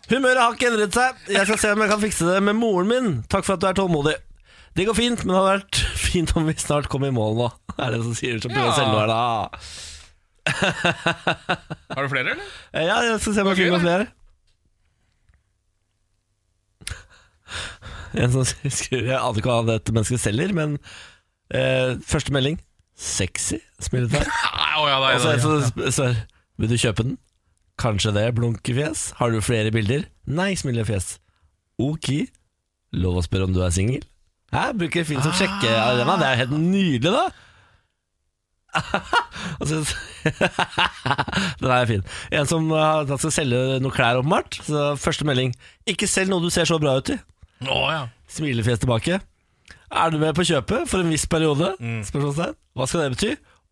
S1: Humøret har ikke endret seg. Jeg skal se om jeg kan fikse det med moren min. Takk for at du er tålmodig. Det går fint, men det hadde vært fint om vi snart kom i mål nå. Er det som sier som prøver å selge noe her, da?
S2: Har du flere, eller?
S1: Eh, Ja, jeg skal se om jeg
S2: Ok,
S1: finner
S2: da.
S1: noen flere. En som skriver Jeg aner ikke hva dette mennesket selger, men eh, første melding sexy, smiletegn.
S2: Nei, å ja, da,
S1: Og så
S2: da,
S1: en
S2: da.
S1: som sp- spør Vil du kjøpe den? Kanskje det, blunkefjes Har du flere bilder? Nei, smilefjes Ok Lov å spørre om du er single? Hæ, bruker Finn
S2: Ah.
S1: som sjekke arena Det er jo helt nydelig da Og så- Den er fin En som uh, han skal selge noen klær åpenbart Så første melding Ikke selg noe du ser så bra ut i
S2: Å ja.
S1: Smilefjes tilbake. Er du med på kjøpet for en viss periode?
S2: Mm.
S1: Spørsmålstegn. Hva skal det bety?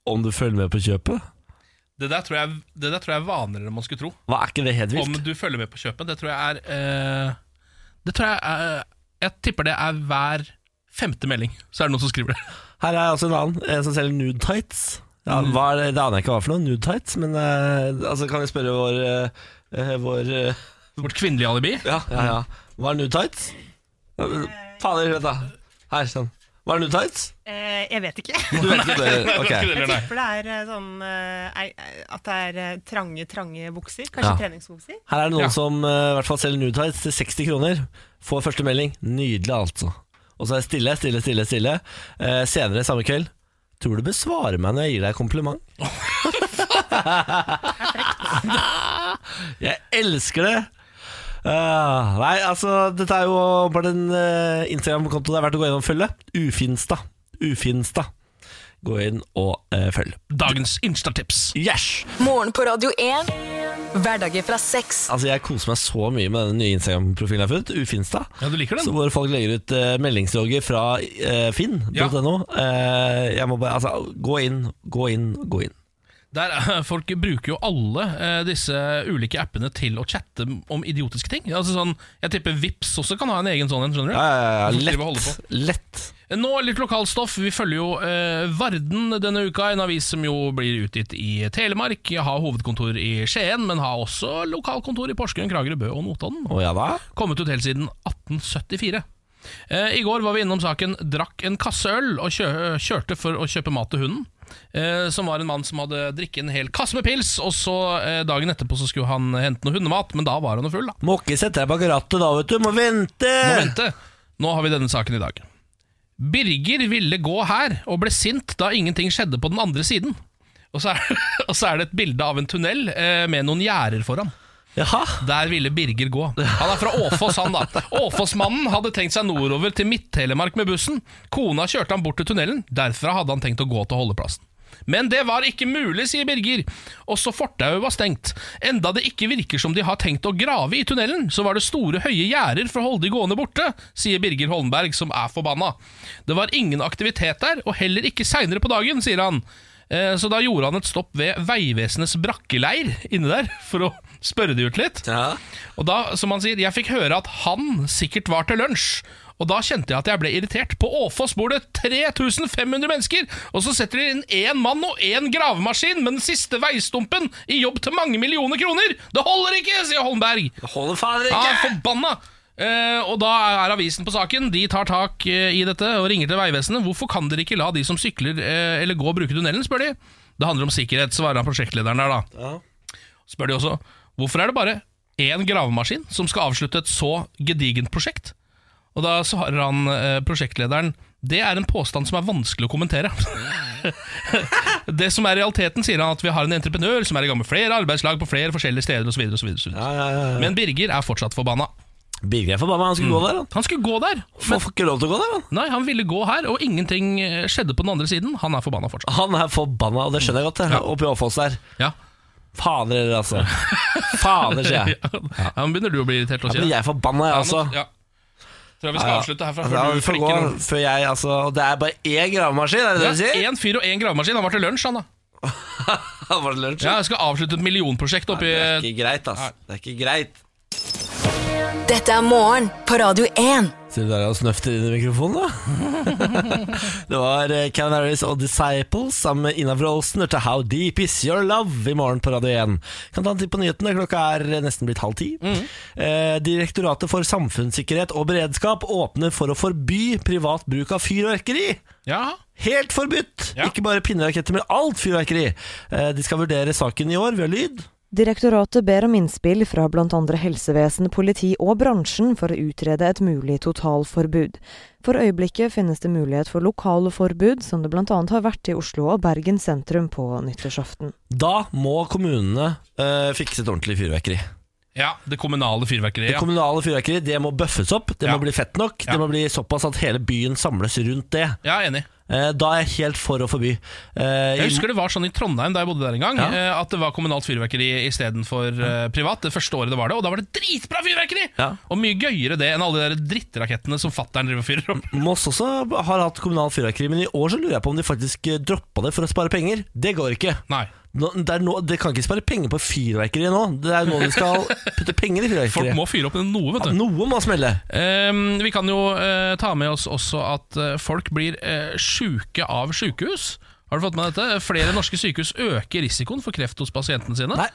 S1: Om du følger med på kjøpet?
S2: Det der tror jeg, det der tror jeg er vanligere enn man skulle tro.
S1: Hva er ikke det helt
S2: Om
S1: vilt?
S2: du følger med på kjøpet, det tror jeg er eh, Det tror jeg er, Jeg tipper det er hver femte melding, så er det noen som skriver det.
S1: Her er altså en annen en som selger nude tights. Ja,
S2: Mm.
S1: hva er det? det aner jeg ikke hva for noe, nude tights, men eh, altså, kan jeg spørre vår, eh, eh, vår eh,
S2: Vårt kvinnelige alibi.
S1: ja, ja, ja. Hva er nude tights? Ja, men- Fader, vent da. Her, sånn. Hva er nude tights?
S10: Eh, jeg vet ikke.
S1: Du vet ikke det?
S2: Det er ikke
S1: Ok.
S2: det, eller nei.
S10: For det er eh, sånn eh, ei- ei- At det er eh, trange, trange bukser. Kanskje
S1: Ja.
S10: treningsbukser.
S1: Her er det noen
S2: Ja.
S1: som eh, i hvert fall selger nude tights til 60 kroner. Får første melding. Nydelig, altså. Og så er det stille, stille, stille. stille Eh, Senere samme kveld. Tror du besvarer meg når jeg gir deg kompliment? jeg elsker det! Ah, nei, altså, dette er jo bare en eh, Instagram-konto det er verdt å gå inn og følge. Ufinstad. Ufinstad. Gå inn og eh, følg.
S2: Dagens Insta-tips.
S1: Yes!
S4: Morgen på Radio 1. Hverdager fra seks.
S1: Altså, jeg koser meg så mye med den nye Instagram-profilen jeg har funnet, Ufinstad.
S2: Ja, du liker den.
S1: Så hvor folk legger ut eh, meldingslogger fra eh, finn.no.
S2: Ja.
S1: Eh, jeg må bare Altså, gå inn, gå inn, gå inn.
S2: Der, eh, folk bruker jo alle eh, disse ulike appene til å chatte om idiotiske ting. Altså sånn, Jeg tipper Vips også kan ha en egen sånn en. skjønner du?
S1: Ja, ja, ja,
S2: Hvorfor driver og holder
S1: lett. lett.
S2: Nå litt lokalstoff. Vi følger jo eh, Varden denne uka, en avis som jo blir utgitt i Telemark. Har hovedkontor i Skien, men har også lokalkontor i Porsgrunn, Kragerø, Bø og Notodden.
S1: Å ja da.
S2: Kommet ut helt siden 1874. Eh, I går var vi innom saken 'drakk en kasse øl' og kjø kjørte for å kjøpe mat til hunden. Eh, som var en mann som hadde drikket en hel kasse med pils, og så eh, dagen etterpå så skulle han hente noe hundemat, men da var han jo full, da.
S1: Må ikke sette deg bak rattet da, vet du. Må vente!
S2: Må vente. Nå har vi denne saken i dag. Birger ville gå her og ble sint da ingenting skjedde på den andre siden. Og så er, og så er det et bilde av en tunnel eh, med noen gjerder foran.
S1: Jaha.
S2: Der ville Birger gå. Han er fra Åfoss, han da. Åfossmannen hadde tenkt seg nordover til Midt-Telemark med bussen. Kona kjørte han bort til tunnelen. Derfra hadde han tenkt å gå til holdeplassen. Men det var ikke mulig, sier Birger. Også fortauet var stengt. Enda det ikke virker som de har tenkt å grave i tunnelen, så var det store, høye gjerder for å holde de gående borte, sier Birger Holmberg, som er forbanna. Det var ingen aktivitet der, og heller ikke seinere på dagen, sier han. Eh, Så da gjorde han et stopp ved Vegvesenets brakkeleir inne der, for å spørre de ut litt.
S1: Ja.
S2: Og da, som han sier, jeg fikk høre at han sikkert var til lunsj. Og da kjente jeg at jeg ble irritert. På Åfoss bor det 3500 mennesker, og så setter de inn én mann og én gravemaskin med den siste veistumpen i jobb til mange millioner kroner! Det holder ikke, sier Holmberg.
S1: Holder fader
S2: Han er
S1: ikke!
S2: forbanna! Eh, og da er avisen på saken. De tar tak eh, i dette og ringer til Vegvesenet. Hvorfor kan dere ikke la de som sykler eh, eller går, bruke tunnelen, spør de. Det handler om sikkerhet, svarer han prosjektlederen der, da spør de også Hvorfor er det bare én gravemaskin som skal avslutte et så gedigent prosjekt? Og da svarer han eh, prosjektlederen Det er en påstand som er vanskelig å kommentere. det som er realiteten, sier han at vi har en entreprenør som er i gang med flere arbeidslag på flere forskjellige steder osv.
S1: Ja, ja, ja, ja.
S2: Men Birger er fortsatt forbanna.
S1: Birger er forbanna. Han skulle gå der, han.
S2: Han skulle gå der.
S1: Får ikke lov til å gå der, han.
S2: Nei, han ville gå her, og ingenting eh, skjedde på den andre siden. Han er forbanna fortsatt.
S1: Han er forbanna, og det skjønner jeg godt, det, oppi Åfoss der.
S2: Ja.
S1: Fader, altså. Fader, sier jeg.
S2: Ja, Nå begynner du å bli irritert.
S1: Da blir jeg forbanna, jeg også.
S2: Ja. Tror jeg vi
S1: Ja,
S2: skal
S1: ja.
S2: avslutte herfra.
S1: Ja,
S2: Før
S1: vi
S2: du
S1: får
S2: flikker
S1: gå
S2: noen.
S1: før jeg, altså, og det er bare én gravemaskin, er det det du
S2: Ja,
S1: sier?
S2: Én fyr og én gravemaskin. Han var til lunsj, han da.
S1: var det lunsj?
S2: Ja, eh, jeg skal avslutte et millionprosjekt oppi
S1: Det er ikke greit, ass. Det er ikke greit.
S4: Dette er morgen på Radio 1.
S1: Sitter du der og snøfter inn i mikrofonen, da? det var eh, Canaries og Disciples sammen med Ina Wroldsen. Hørte How Deep Is Your Love i morgen på Radio 1. Kan ta en titt på nyhetene. Klokka er nesten blitt halv ti. Eh, Direktoratet for samfunnssikkerhet og beredskap åpner for å forby privat bruk av fyrverkeri.
S2: Ja.
S1: Helt forbudt! Ikke bare pinneraketter, men alt fyrverkeri. Eh, De skal vurdere saken i år. Vi har lyd.
S11: Direktoratet ber om innspill fra bl.a. helsevesen, politi og bransjen for å utrede et mulig totalforbud. For øyeblikket finnes det mulighet for lokale forbud, som det bl.a. har vært i Oslo og Bergen sentrum på nyttårsaften.
S1: Da må kommunene eh, fikse et ordentlig fyrverkeri.
S2: Ja, det kommunale fyrverkeriet.
S1: Det
S2: ja.
S1: kommunale fyrverkeriet det må bøffes opp, det må bli fett nok. Det må bli såpass at hele byen samles rundt det.
S2: Ja, jeg er enig.
S1: Eh, Da er jeg helt for å forby. Eh,
S2: Jeg husker det var sånn i Trondheim da jeg bodde der en gang, eh, at det var kommunalt fyrverkeri istedenfor eh, privat. Det første året det var det, og da var det dritbra fyrverkeri! Og mye gøyere det enn alle de der drittrakettene som fattern driver og fyrer opp.
S1: Moss også har hatt kommunal fyrverkeri, men i år så lurer jeg på om de faktisk eh, droppa det for å spare penger. Det går ikke. Nå, det, er nå, det kan ikke spare penger på fyrverkeri nå. Det er nå de skal putte penger i fyrverkeri.
S2: Folk må fyre opp noe, vet du.
S1: Noe må smelle.
S2: Ehm, vi kan jo eh, ta med oss også at eh, folk blir uh, sjuke av sjukehus. Har du fått med dette? Flere norske sykehus øker risikoen for kreft hos pasientene sine.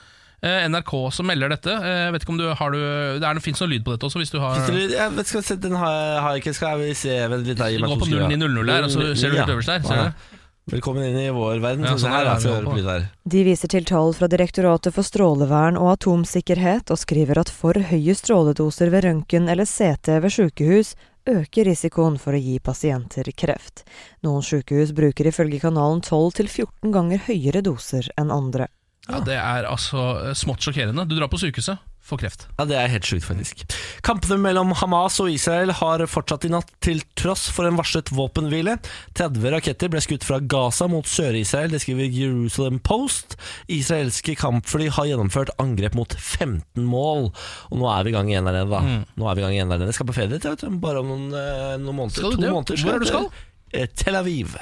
S2: Eh, NRK som melder dette. Eh, jeg vet ikke om du har du, Det er- det fins noe lyd på dette også, hvis du har
S1: Hvis dere- Jeg vet, skal vi se, den har jeg, har jeg ikke. Skal vi se vent litt da, gi meg
S2: Gå
S1: to
S2: på
S1: sekunder.
S2: 0900 der, og så ser du helt
S1: Ja.
S2: øverst der, ser du det?
S1: Velkommen inn i vår verden.
S2: Ja,
S1: sånn,
S2: sånn
S1: her,
S2: er
S1: da,
S2: det
S1: skal
S2: jeg
S1: vi
S2: hører
S1: høre
S2: på.
S1: på litt her.
S11: De viser til tall fra Direktoratet for strålevern og atomsikkerhet, og skriver at for høye stråledoser ved røntgen eller CT ved sykehus øker risikoen for å gi pasienter kreft. Noen sykehus bruker ifølge kanalen 12-14 ganger høyere doser enn andre.
S2: Ja, Det er altså eh, smått sjokkerende. Du drar på sykehuset, får kreft.
S1: Ja, Det er helt sjukt, faktisk. Kampene mellom Hamas og Israel har fortsatt i natt, til tross for en varslet våpenhvile. 30 raketter ble skutt fra Gaza mot Sør-Israel, det skriver Jerusalem Post. Israelske kampfly har gjennomført angrep mot 15 mål. Og nå er vi i gang igjen der nede, da.
S2: Mm.
S1: Nå er vi i gang igjen der nede. Jeg skal på ferie dit, jeg vet du. Bare om noen, eh, noen måneder.
S2: Skal du
S1: to
S2: det?
S1: måneder.
S2: Hvor er du
S1: jeg
S2: skal? Ah!
S1: til, eh, Tel Aviv.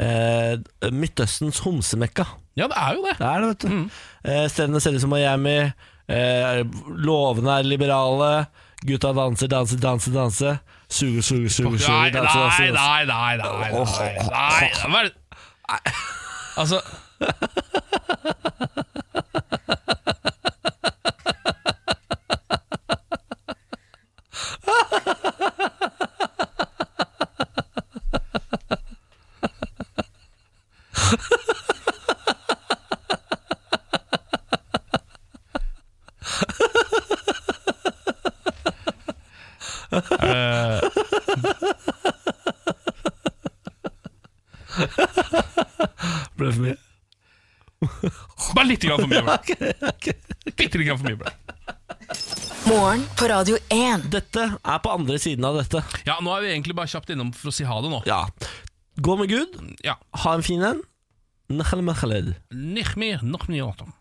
S1: Eh, Midtøstens homsemekka.
S2: Ja, det er jo det.
S1: Det er det, vet
S2: Mm.
S1: du. Eh, stedene ser ut som Miami. Eh, lovene er liberale. Gutta danser, danser, danser, danser. Suge, suge, suge, suge.
S2: Nei,
S1: danse, danse,
S2: nei,
S1: danse.
S2: nei, nei, nei, nei, nei. Hva er det? Altså
S1: Ble det for mye?
S2: Bare litt grann for mye ble det. Bitte grann for mye ble det.
S4: Morgen på Radio 1.
S1: Dette er på andre siden av dette.
S2: Ja, nå er vi egentlig bare kjapt innom for å si ha det nå.
S1: Ja. Gå med Gud.
S2: Ja.
S1: Ha en fin en. Nahal mahaled.
S2: Nichmi, nochmi, åtom.